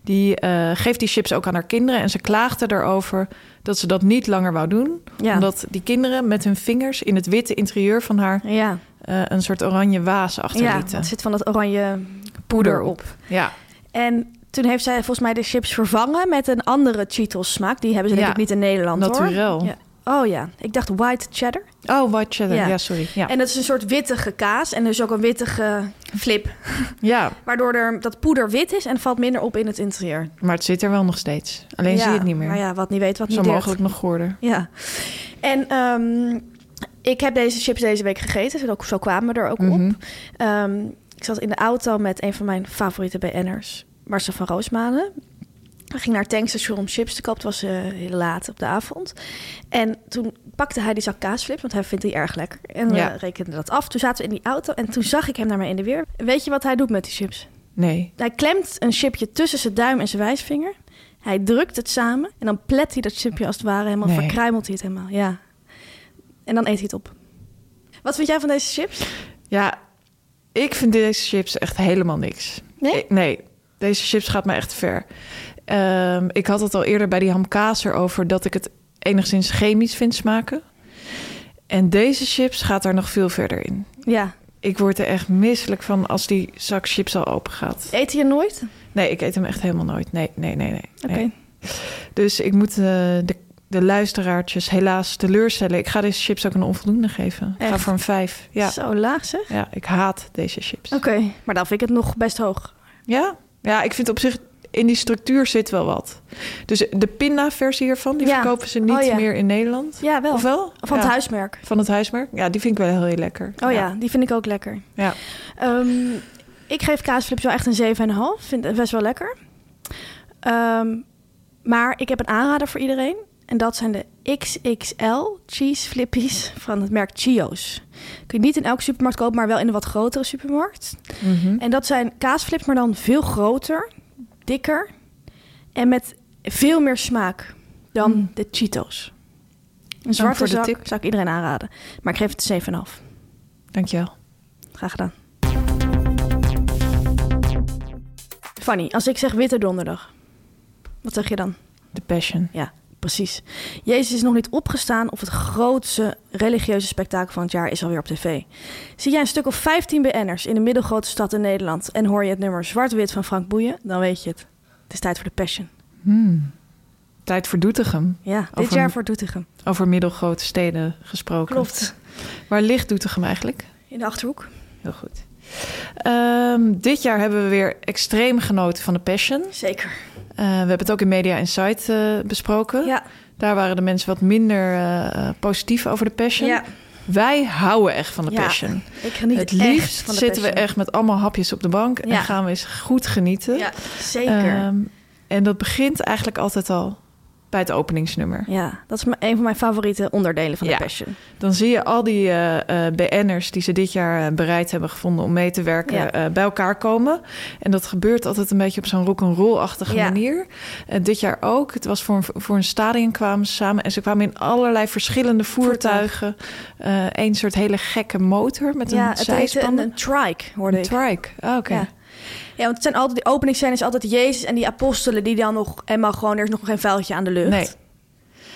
S4: die eh, geeft die chips ook aan haar kinderen. En ze klaagde erover dat ze dat niet langer wou doen.
S3: Ja.
S4: Omdat die kinderen met hun vingers in het witte interieur van haar...
S3: ja,
S4: eh, een soort oranje waas
S3: ja
S4: achterlieten.
S3: het zit van dat oranje
S4: poeder
S3: poeder
S4: op.
S3: op.
S4: Ja,
S3: En toen heeft zij volgens mij de chips vervangen met een andere Cheetos smaak. Die hebben ze denk
S4: Ja.
S3: ik niet in Nederland
S4: Naturel.
S3: hoor. Ja. Oh ja, ik dacht white cheddar.
S4: Oh, white cheddar. Ja,
S3: Ja.
S4: sorry. Ja.
S3: En dat is een soort wittige kaas en dus ook een wittige flip.
S4: ja,
S3: Waardoor er dat poeder wit is en valt minder op in het interieur.
S4: maar het zit er wel nog steeds. Alleen
S3: Ja,
S4: zie je het niet meer.
S3: Maar ja, wat niet weet, wat
S4: Zo
S3: niet deert.
S4: mogelijk nog goorder.
S3: Ja. En ehm, ik heb deze chips deze week gegeten. Zo- Zo kwamen we er ook
S4: Mhm.
S3: op. Ehm, ik zat in de auto met een van mijn favoriete BN'ers, Marcel van Roosmalen. We gingen naar het tankstation om chips te kopen. Het was eh, heel laat op de avond. En toen pakte hij die zak kaasflips, want hij vindt die erg lekker. En we
S4: Ja.
S3: rekenden dat af. Toen zaten we in die auto en toen zag ik hem naar mij in de weer. Weet je wat hij doet met die chips?
S4: Nee.
S3: Hij klemt een chipje tussen zijn duim en zijn wijsvinger. Hij drukt het samen en dan plet hij dat chipje als het ware helemaal,
S4: Nee.
S3: verkruimelt hij het helemaal. Ja. En dan eet hij het op. Wat vind jij van deze chips?
S4: Ja, ik vind deze chips echt helemaal niks.
S3: Nee?
S4: Ik- nee, deze chips gaat me echt ver. Ehm, ik had het al eerder bij die hamkaas erover dat ik het enigszins chemisch vind smaken. En deze chips gaat daar nog veel verder in.
S3: Ja.
S4: Ik word er echt misselijk van als die zak chips al open gaat.
S3: Eet je nooit?
S4: Nee, ik eet hem echt helemaal nooit. Nee, nee, nee, nee.
S3: Oké.
S4: nee. Dus ik moet eh, de, de luisteraartjes helaas teleurstellen. Ik ga deze chips ook een onvoldoende geven. Ik ga
S3: Echt?
S4: voor een vijf. Ja.
S3: Zo laag zeg.
S4: ja, ik haat deze chips.
S3: Oké. Maar dan vind ik het nog best hoog.
S4: Ja? ja, ik vind op zich in die structuur zit wel wat. Dus de pinda-versie hiervan, die
S3: Ja.
S4: verkopen ze niet
S3: Oh, ja.
S4: meer in Nederland.
S3: Ja, wel.
S4: Of wel?
S3: Van het
S4: Ja.
S3: huismerk.
S4: Van het huismerk? Ja, die vind ik wel heel, heel lekker.
S3: Oh ja. die vind ik ook lekker.
S4: Ja.
S3: Ehm, ik geef kaasflips wel echt een 7,5. Vind het best wel lekker. Ehm, maar ik heb een aanrader voor iedereen. En dat zijn de XXL cheese flippies van het merk Chio's. Kun je niet in elke supermarkt kopen, maar wel in een wat grotere supermarkt.
S4: Mhm.
S3: En dat zijn kaasflips, maar dan veel groter, dikker en met veel meer smaak dan
S4: Mm.
S3: de Cheetos. Een zwarte
S4: voor de
S3: zak
S4: tip.
S3: zou ik iedereen aanraden. Maar ik geef het een 7,5.
S4: Dankjewel.
S3: Graag gedaan. Fanny, als ik zeg Witte Donderdag, wat zeg je dan?
S4: The Passion.
S3: Ja, precies. Jezus is nog niet opgestaan of het grootste religieuze spektakel van het jaar is alweer op tv. Zie jij een stuk of 15 BN'ers in de middelgrote stad in Nederland en hoor je het nummer Zwart-Wit van Frank Boeien, dan weet je het. Het is tijd voor de Passion.
S4: Hmm. Tijd voor Doetinchem.
S3: Ja, dit
S4: Over-
S3: jaar voor Doetinchem.
S4: Over middelgrote steden gesproken.
S3: Klopt.
S4: Waar ligt Doetinchem eigenlijk?
S3: In de Achterhoek.
S4: Heel goed. Ehm, dit jaar hebben we weer extreem genoten van de Passion.
S3: Zeker.
S4: Eh, we hebben het ook in Media Insight eh, besproken.
S3: Ja.
S4: Daar waren de mensen wat minder eh, positief over de Passion.
S3: ja.
S4: Wij houden echt van de
S3: Ja,
S4: Passion.
S3: Ik geniet
S4: het
S3: echt
S4: liefst
S3: van de
S4: zitten we
S3: Passion.
S4: echt met allemaal hapjes op de bank en
S3: Ja.
S4: gaan we eens goed genieten.
S3: Ja, zeker.
S4: Ehm, en dat begint eigenlijk altijd al bij het openingsnummer.
S3: Ja, dat is m- een van mijn favoriete onderdelen van
S4: Ja.
S3: de Passion.
S4: Dan zie je al die eh eh, BN'ers die ze dit jaar eh, bereid hebben gevonden om mee te werken,
S3: Ja.
S4: eh, bij elkaar komen. En dat gebeurt altijd een beetje op zo'n rock'n'roll-achtige
S3: Ja.
S4: manier. Eh, dit jaar ook. Het was voor een, voor een stadion kwamen ze samen. En ze kwamen in allerlei verschillende voertuigen. Eén soort hele gekke motor met
S3: ja,
S4: een
S3: het heet een,
S4: zijspan.
S3: een trike, hoorde
S4: Een
S3: ik.
S4: trike. Ah, Oké.
S3: Ja. ja, want het zijn altijd, de openingsscène is altijd Jezus en die apostelen die dan nog helemaal gewoon, er is nog geen vuiltje aan de lucht.
S4: Nee.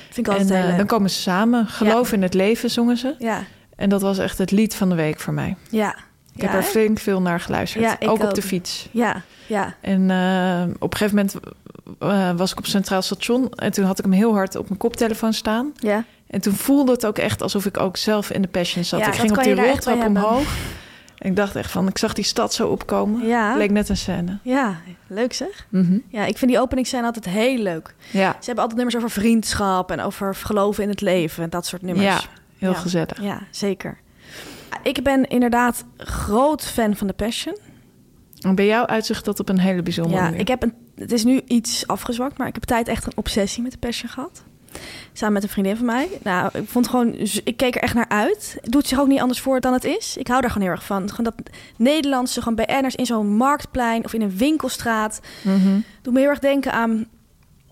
S3: Vind ik
S4: En
S3: altijd heel
S4: eh,
S3: leuk.
S4: dan komen ze samen. Geloof in het leven zongen ze.
S3: Ja,
S4: En dat was echt het lied van de week voor mij.
S3: ja.
S4: Ik
S3: ja,
S4: heb er
S3: hè?
S4: flink veel naar geluisterd.
S3: Ja, ik
S4: ook op
S3: ook.
S4: de fiets.
S3: Ja, ja.
S4: En eh, op een gegeven moment eh, was ik op Centraal Station en toen had ik hem heel hard op mijn koptelefoon staan.
S3: Ja,
S4: En toen voelde het ook echt alsof ik ook zelf in de passion zat.
S3: Ja,
S4: ik
S3: dat
S4: ging op
S3: kan
S4: die
S3: je daar echt
S4: roltrap
S3: bij hebben.
S4: omhoog. En ik dacht echt van, ik zag die stad zo opkomen.
S3: Ja.
S4: Leek net een scène.
S3: ja. leuk zeg.
S4: Mhm.
S3: Ja, ik vind die openingsscène altijd heel leuk.
S4: Ja,
S3: Ze hebben altijd nummers over vriendschap en over geloven in het leven en dat soort nummers.
S4: ja, heel
S3: Ja.
S4: gezellig.
S3: Ja, zeker. Ik ben inderdaad groot fan van de Passion.
S4: En bij jou uitzicht dat op een hele bijzondere
S3: Ja,
S4: manier.
S3: ik heb een, het is nu iets afgezwakt, maar ik heb tijd echt een obsessie met de Passion gehad. Samen met een vriendin van mij. Nou, ik vond gewoon, z- ik keek er echt naar uit. Het Doet zich ook niet anders voor dan het is. Ik hou daar gewoon heel erg van. Gewoon dat Nederlandse, gewoon BN'ers in zo'n marktplein of in een winkelstraat.
S4: Mhm.
S3: Doet me heel erg denken aan.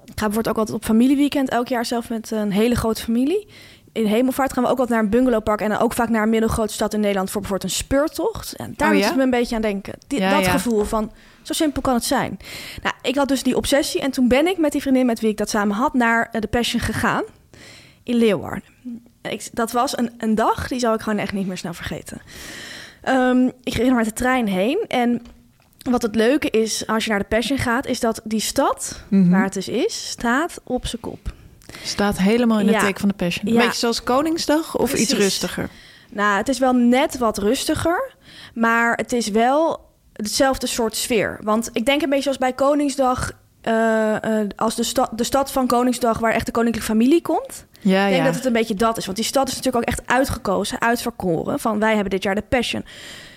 S3: Ik ga bijvoorbeeld ook altijd op familieweekend elk jaar zelf met een hele grote familie. In hemelvaart gaan we ook wat naar een bungalowpark en dan ook vaak naar een middelgrote stad in Nederland voor bijvoorbeeld een speurtocht. En daar
S4: Oh
S3: moet
S4: ja?
S3: ik me een beetje aan denken. Die-
S4: Ja,
S3: dat
S4: ja.
S3: gevoel van zo simpel kan het zijn. Nou, ik had dus die obsessie en toen ben ik met die vriendin met wie ik dat samen had naar eh, de Passion gegaan in Leeuwarden. Ik, dat was een, een dag, die zal ik gewoon echt niet meer snel vergeten. Ehm, ik ging er met de trein heen en wat het leuke is als je naar de Passion gaat, is dat die stad
S4: Mhm.
S3: waar het dus is, staat op zijn kop.
S4: Staat helemaal in het
S3: Ja.
S4: teken van de passion. Een
S3: Ja.
S4: beetje zoals Koningsdag of iets
S3: Precies.
S4: rustiger.
S3: Nou, het is wel net wat rustiger, maar het is wel hetzelfde soort sfeer. Want ik denk een beetje zoals bij Koningsdag, eh, eh, als de, sta- de stad van Koningsdag waar echt de koninklijke familie komt.
S4: Ja,
S3: Ik denk
S4: ja.
S3: dat het een beetje dat is. Want die stad is natuurlijk ook echt uitgekozen, uitverkoren. Van wij hebben dit jaar de passion.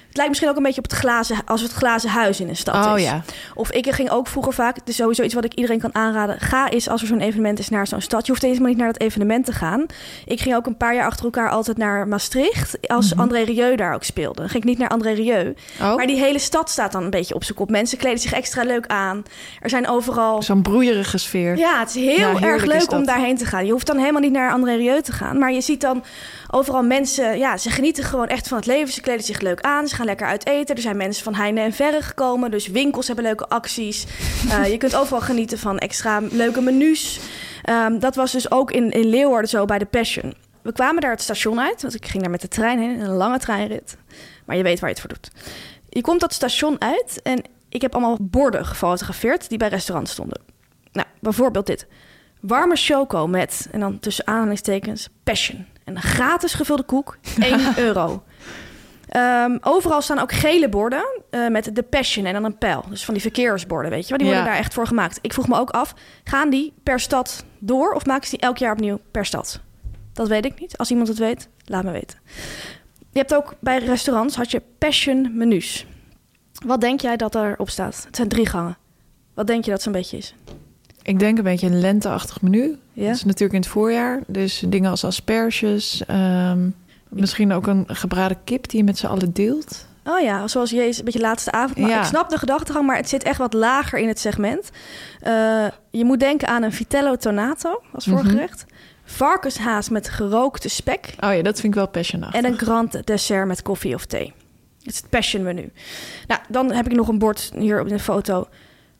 S3: Het lijkt misschien ook een beetje op het glazen, als het glazen huis in een stad
S4: oh
S3: is.
S4: ja,
S3: Of ik ging ook vroeger vaak, het is sowieso iets wat ik iedereen kan aanraden. Ga eens als er zo'n evenement is naar zo'n stad. Je hoeft helemaal niet naar dat evenement te gaan. Ik ging ook een paar jaar achter elkaar altijd naar Maastricht. Als André Rieu daar ook speelde. Dan ging ik niet naar André Rieu.
S4: Oh.
S3: Maar die hele stad staat dan een beetje op zijn kop. Mensen kleden zich extra leuk aan. Er zijn overal...
S4: zo'n broeierige sfeer.
S3: Ja, het is heel
S4: Ja, heerlijk
S3: erg
S4: is
S3: leuk om
S4: dat.
S3: daarheen te gaan. Je hoeft dan helemaal niet naar André Rieu te gaan. Maar je ziet dan overal mensen... Ja, ze genieten gewoon echt van het leven. Ze kleden zich leuk aan. Ze gaan lekker uit eten. Er zijn mensen van heinde en verre gekomen. Dus winkels hebben leuke acties. Eh, je kunt overal genieten van extra leuke menus. Ehm, dat was dus ook in, in Leeuwarden zo bij de Passion. We kwamen daar het station uit. Want ik ging daar met de trein heen. Een lange treinrit. Maar je weet waar je het voor doet. Je komt dat station uit en ik heb allemaal borden gefotografeerd die bij restaurants stonden. Nou, bijvoorbeeld dit. Warme choco met, en dan tussen aanhalingstekens, passion. En een gratis gevulde koek, 1 euro. Ehm, overal staan ook gele borden eh, met de passion en dan een pijl. Dus van die verkeersborden, weet je wel. Die worden
S4: Ja.
S3: daar echt voor gemaakt. Ik vroeg me ook af, gaan die per stad door of maken ze die elk jaar opnieuw per stad? Dat weet ik niet. Als iemand het weet, laat me weten. Je hebt ook bij restaurants had je passion menus. Wat denk jij dat daarop staat? Het zijn drie gangen. Wat denk je dat zo'n beetje is?
S4: Ik denk een beetje een lenteachtig menu.
S3: Ja.
S4: Dat is natuurlijk in het voorjaar. Dus dingen als asperges. ehm, misschien ook een gebraden kip die je met z'n allen deelt.
S3: Oh ja, zoals Jezus, een beetje laatste avond. Maar
S4: Ja.
S3: ik snap de gedachtegang, maar het zit echt wat lager in het segment. Eh, je moet denken aan een vitello tonato als voorgerecht. Varkenshaas met gerookte spek.
S4: Oh ja, dat vind ik wel passionachtig.
S3: En een grand dessert met koffie of thee. Het is het passion menu. Nou, dan heb ik nog een bord hier op de foto.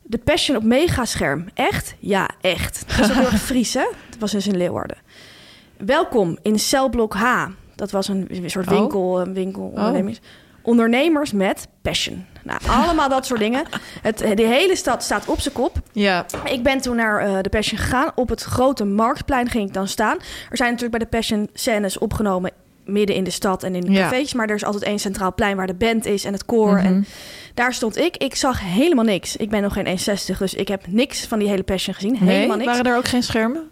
S3: De passion op megascherm. Echt? Ja, echt. Het is ook heel erg Fries, hè? Het was dus in Leeuwarden. Welkom in celblok H. Dat was een soort
S4: Oh.
S3: winkel, een winkel ondernemers. Ondernemers met passion. Nou, allemaal dat soort dingen. Het, de hele stad staat op zijn kop.
S4: Ja,
S3: Ik ben toen naar eh, de Passion gegaan. Op het grote marktplein ging ik dan staan. Er zijn natuurlijk bij de Passion scènes opgenomen midden in de stad en in de
S4: Ja. Mhm.
S3: cafés. Maar er is altijd één centraal plein waar de band is en het koor. En daar stond ik. Ik zag helemaal niks. Ik ben nog geen 1,60, dus ik heb niks van die hele Passion gezien.
S4: nee,
S3: Helemaal niks.
S4: waren er ook geen schermen?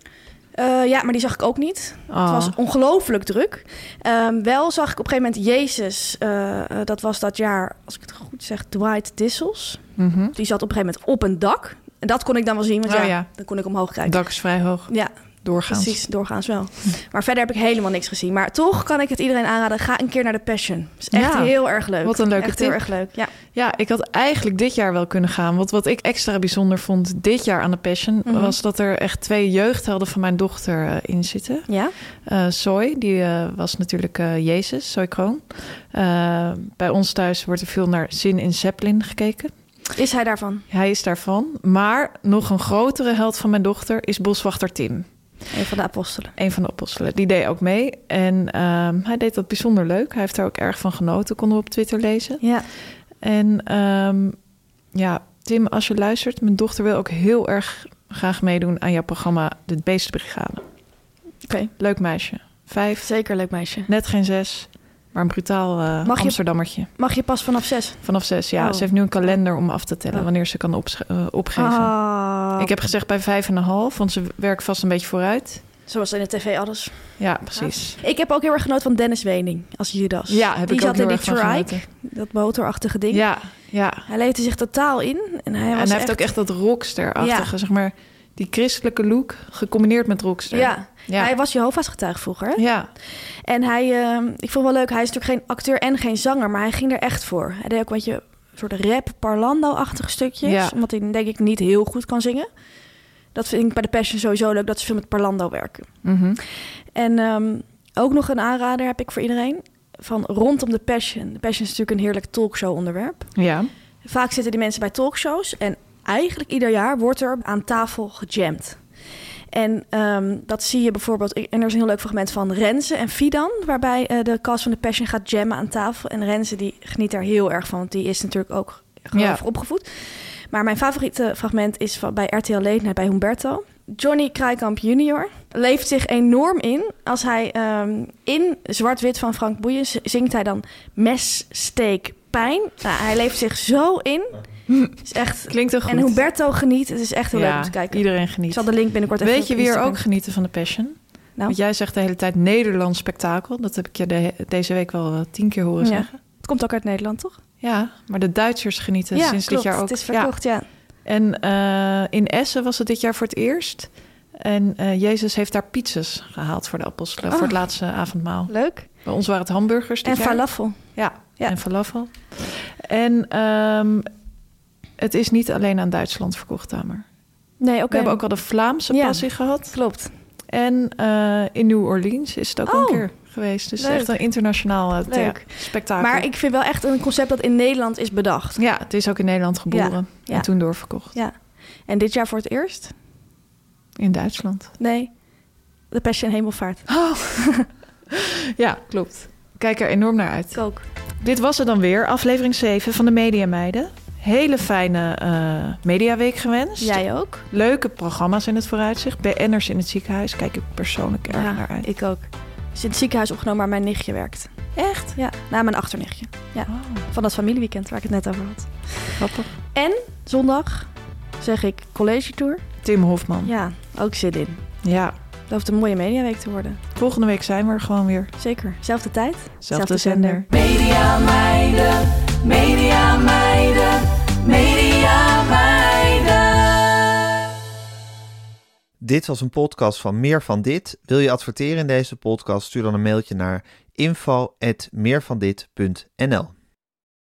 S3: Eh, ja, maar die zag ik ook niet.
S4: Oh.
S3: Het was ongelooflijk druk. Ehm, wel zag ik op een gegeven moment Jezus. eh, eh, dat was dat jaar, als ik het goed zeg, Dwight Dissels.
S4: Mhm.
S3: Die zat op een gegeven moment op een dak. En dat kon ik dan wel zien, want
S4: Oh,
S3: ja,
S4: ja.
S3: dan kon ik omhoog kijken.
S4: Het dak is vrij hoog.
S3: Ja,
S4: Doorgaans.
S3: precies, doorgaans wel. Maar verder heb ik helemaal niks gezien. Maar toch kan ik het iedereen aanraden, ga een keer naar de Passion. is echt
S4: Ja.
S3: heel erg leuk.
S4: Wat een leuke
S3: Echt
S4: tip.
S3: heel erg leuk, ja.
S4: Ja, ik had eigenlijk dit jaar wel kunnen gaan. Want wat ik extra bijzonder vond dit jaar aan de Passion...
S3: Mhm.
S4: was dat er echt twee jeugdhelden van mijn dochter eh, in zitten.
S3: Ja?
S4: Eh Soy, die eh, was natuurlijk eh, Jezus, Soy Kroon. Eh, bij ons thuis wordt er veel naar Zin in Zeppelin gekeken.
S3: Is hij daarvan?
S4: Hij is daarvan. Maar nog een grotere held van mijn dochter is boswachter Tim.
S3: Een van de apostelen.
S4: Een van de apostelen. Die deed ook mee. En ehm, hij deed dat bijzonder leuk. Hij heeft daar ook erg van genoten, konden we op Twitter lezen.
S3: Ja.
S4: En ehm, ja, Tim, als je luistert, mijn dochter wil ook heel erg graag meedoen aan jouw programma De Beestenbrigade.
S3: Oké.
S4: Leuk meisje. Vijf,
S3: Zeker leuk meisje.
S4: net geen zes, maar een brutaal eh
S3: Mag je-
S4: Amsterdammertje.
S3: Mag je pas vanaf zes?
S4: Vanaf zes, ja.
S3: Oh.
S4: Ze heeft nu een kalender om af te tellen
S3: Oh.
S4: wanneer ze kan opsch- eh, opgeven.
S3: Ah,
S4: Ik heb gezegd bij vijf en een half, want ze werkt vast een beetje vooruit.
S3: Zoals in de tv alles.
S4: Ja, precies.
S3: Ik heb ook heel erg genoten van Dennis Wening als Judas.
S4: Ja, heb
S3: Die
S4: ik
S3: zat
S4: ook heel
S3: in
S4: erg
S3: die
S4: van
S3: trike,
S4: genoten.
S3: dat motorachtige ding.
S4: Ja, ja.
S3: Hij leefde zich totaal in. En hij, was
S4: en hij heeft ook echt dat rockster-achtige, zeg maar, die christelijke look gecombineerd met rockster.
S3: Ja.
S4: Ja.
S3: hij was Jehovah's getuige vroeger. hè?
S4: ja.
S3: En hij, ehm, ik vond het wel leuk, hij is natuurlijk geen acteur en geen zanger, maar hij ging er echt voor. Hij deed ook wat je soort rap parlando-achtige stukjes,
S4: Ja.
S3: omdat hij denk ik niet heel goed kan zingen. Dat vind ik bij de Passion sowieso leuk, dat ze veel met parlando werken.
S4: Mhm.
S3: En ehm, ook nog een aanrader heb ik voor iedereen van Rondom de Passion. De Passion is natuurlijk een heerlijk talkshow-onderwerp.
S4: ja.
S3: Vaak zitten die mensen bij talkshows en eigenlijk ieder jaar wordt er aan tafel gejamd. En ehm, dat zie je bijvoorbeeld, en er is een heel leuk fragment van Renze en Fidan, waarbij eh, de cast van de Passion gaat jammen aan tafel. En Renze die geniet daar heel erg van, want die is natuurlijk ook gewoon
S4: Ja.
S3: opgevoed. Maar mijn favoriete fragment is van, bij RTL Late bij Humberto. Johnny Krijkamp junior leeft zich enorm in als hij ehm, in Zwart-Wit van Frank Boeien z- zingt hij dan mes, steek, pijn. Nou, hij leeft zich zo in. Het is echt...
S4: Klinkt heel goed.
S3: En Humberto geniet. Het is echt heel leuk
S4: ja,
S3: om te kijken.
S4: iedereen
S3: Ik
S4: geniet.
S3: zal de link binnenkort even
S4: Weet je
S3: op
S4: wie er
S3: Instagram-
S4: ook genieten van de Passion?
S3: Nou?
S4: Want jij zegt de hele tijd Nederlands spektakel. Dat heb ik je de- deze week wel eh, tien keer horen
S3: Ja.
S4: zeggen.
S3: Het komt ook uit Nederland, toch?
S4: Ja, maar de Duitsers genieten
S3: ja,
S4: sinds
S3: klopt.
S4: dit jaar ook.
S3: Het is
S4: ja.
S3: verkocht, ja.
S4: En eh, in Essen was het dit jaar voor het eerst. En eh, Jezus heeft daar pizzas gehaald voor de apostelen.
S3: Oh.
S4: Voor het laatste avondmaal.
S3: Leuk.
S4: Bij ons waren het hamburgers dit
S3: En
S4: jaar.
S3: falafel.
S4: Ja,
S3: Ja.
S4: en falafel. En ehm, het is niet alleen aan Duitsland verkocht, Tamer.
S3: Nee, oké.
S4: We hebben ook al de Vlaamse
S3: Ja.
S4: passie gehad.
S3: Klopt.
S4: En eh, in New Orleans is het ook
S3: Oh.
S4: een keer geweest. Dus
S3: Leuk.
S4: echt een internationaal eh, thea-
S3: Leuk.
S4: spektakel.
S3: Maar ik vind wel echt een concept dat in Nederland is bedacht.
S4: Ja, het is ook in Nederland geboren
S3: ja.
S4: en toen doorverkocht.
S3: Ja. En dit jaar voor het eerst?
S4: In Duitsland.
S3: Nee. De Passion Hemelvaart.
S4: Ja, klopt. Kijk er enorm naar uit.
S3: Ik ook.
S4: Dit was het dan weer, aflevering 7 van de Media Meiden. Hele fijne eh, mediaweek gewenst.
S3: Jij ook?
S4: Leuke programma's in het vooruitzicht. BN'ers in het ziekenhuis. Kijk ik persoonlijk erg naar uit.
S3: ik ook. Is in het ziekenhuis opgenomen waar mijn nichtje werkt.
S4: Echt?
S3: Ja, na mijn achternichtje. Ja. Van dat familieweekend waar ik het net over had.
S4: Grappig.
S3: Zondag zeg ik college tour.
S4: Tim Hofman.
S3: Ja, ook zin in.
S4: ja.
S3: Dat hoeft een mooie mediaweek te worden.
S4: Volgende week zijn we er gewoon weer.
S3: Zeker. Zelfde tijd.
S4: Zelfde zender.
S5: Media meiden, media meiden, media meiden.
S6: Dit was een podcast van Meer van Dit. Wil je adverteren in deze podcast? Stuur dan een mailtje naar info.meervandit.nl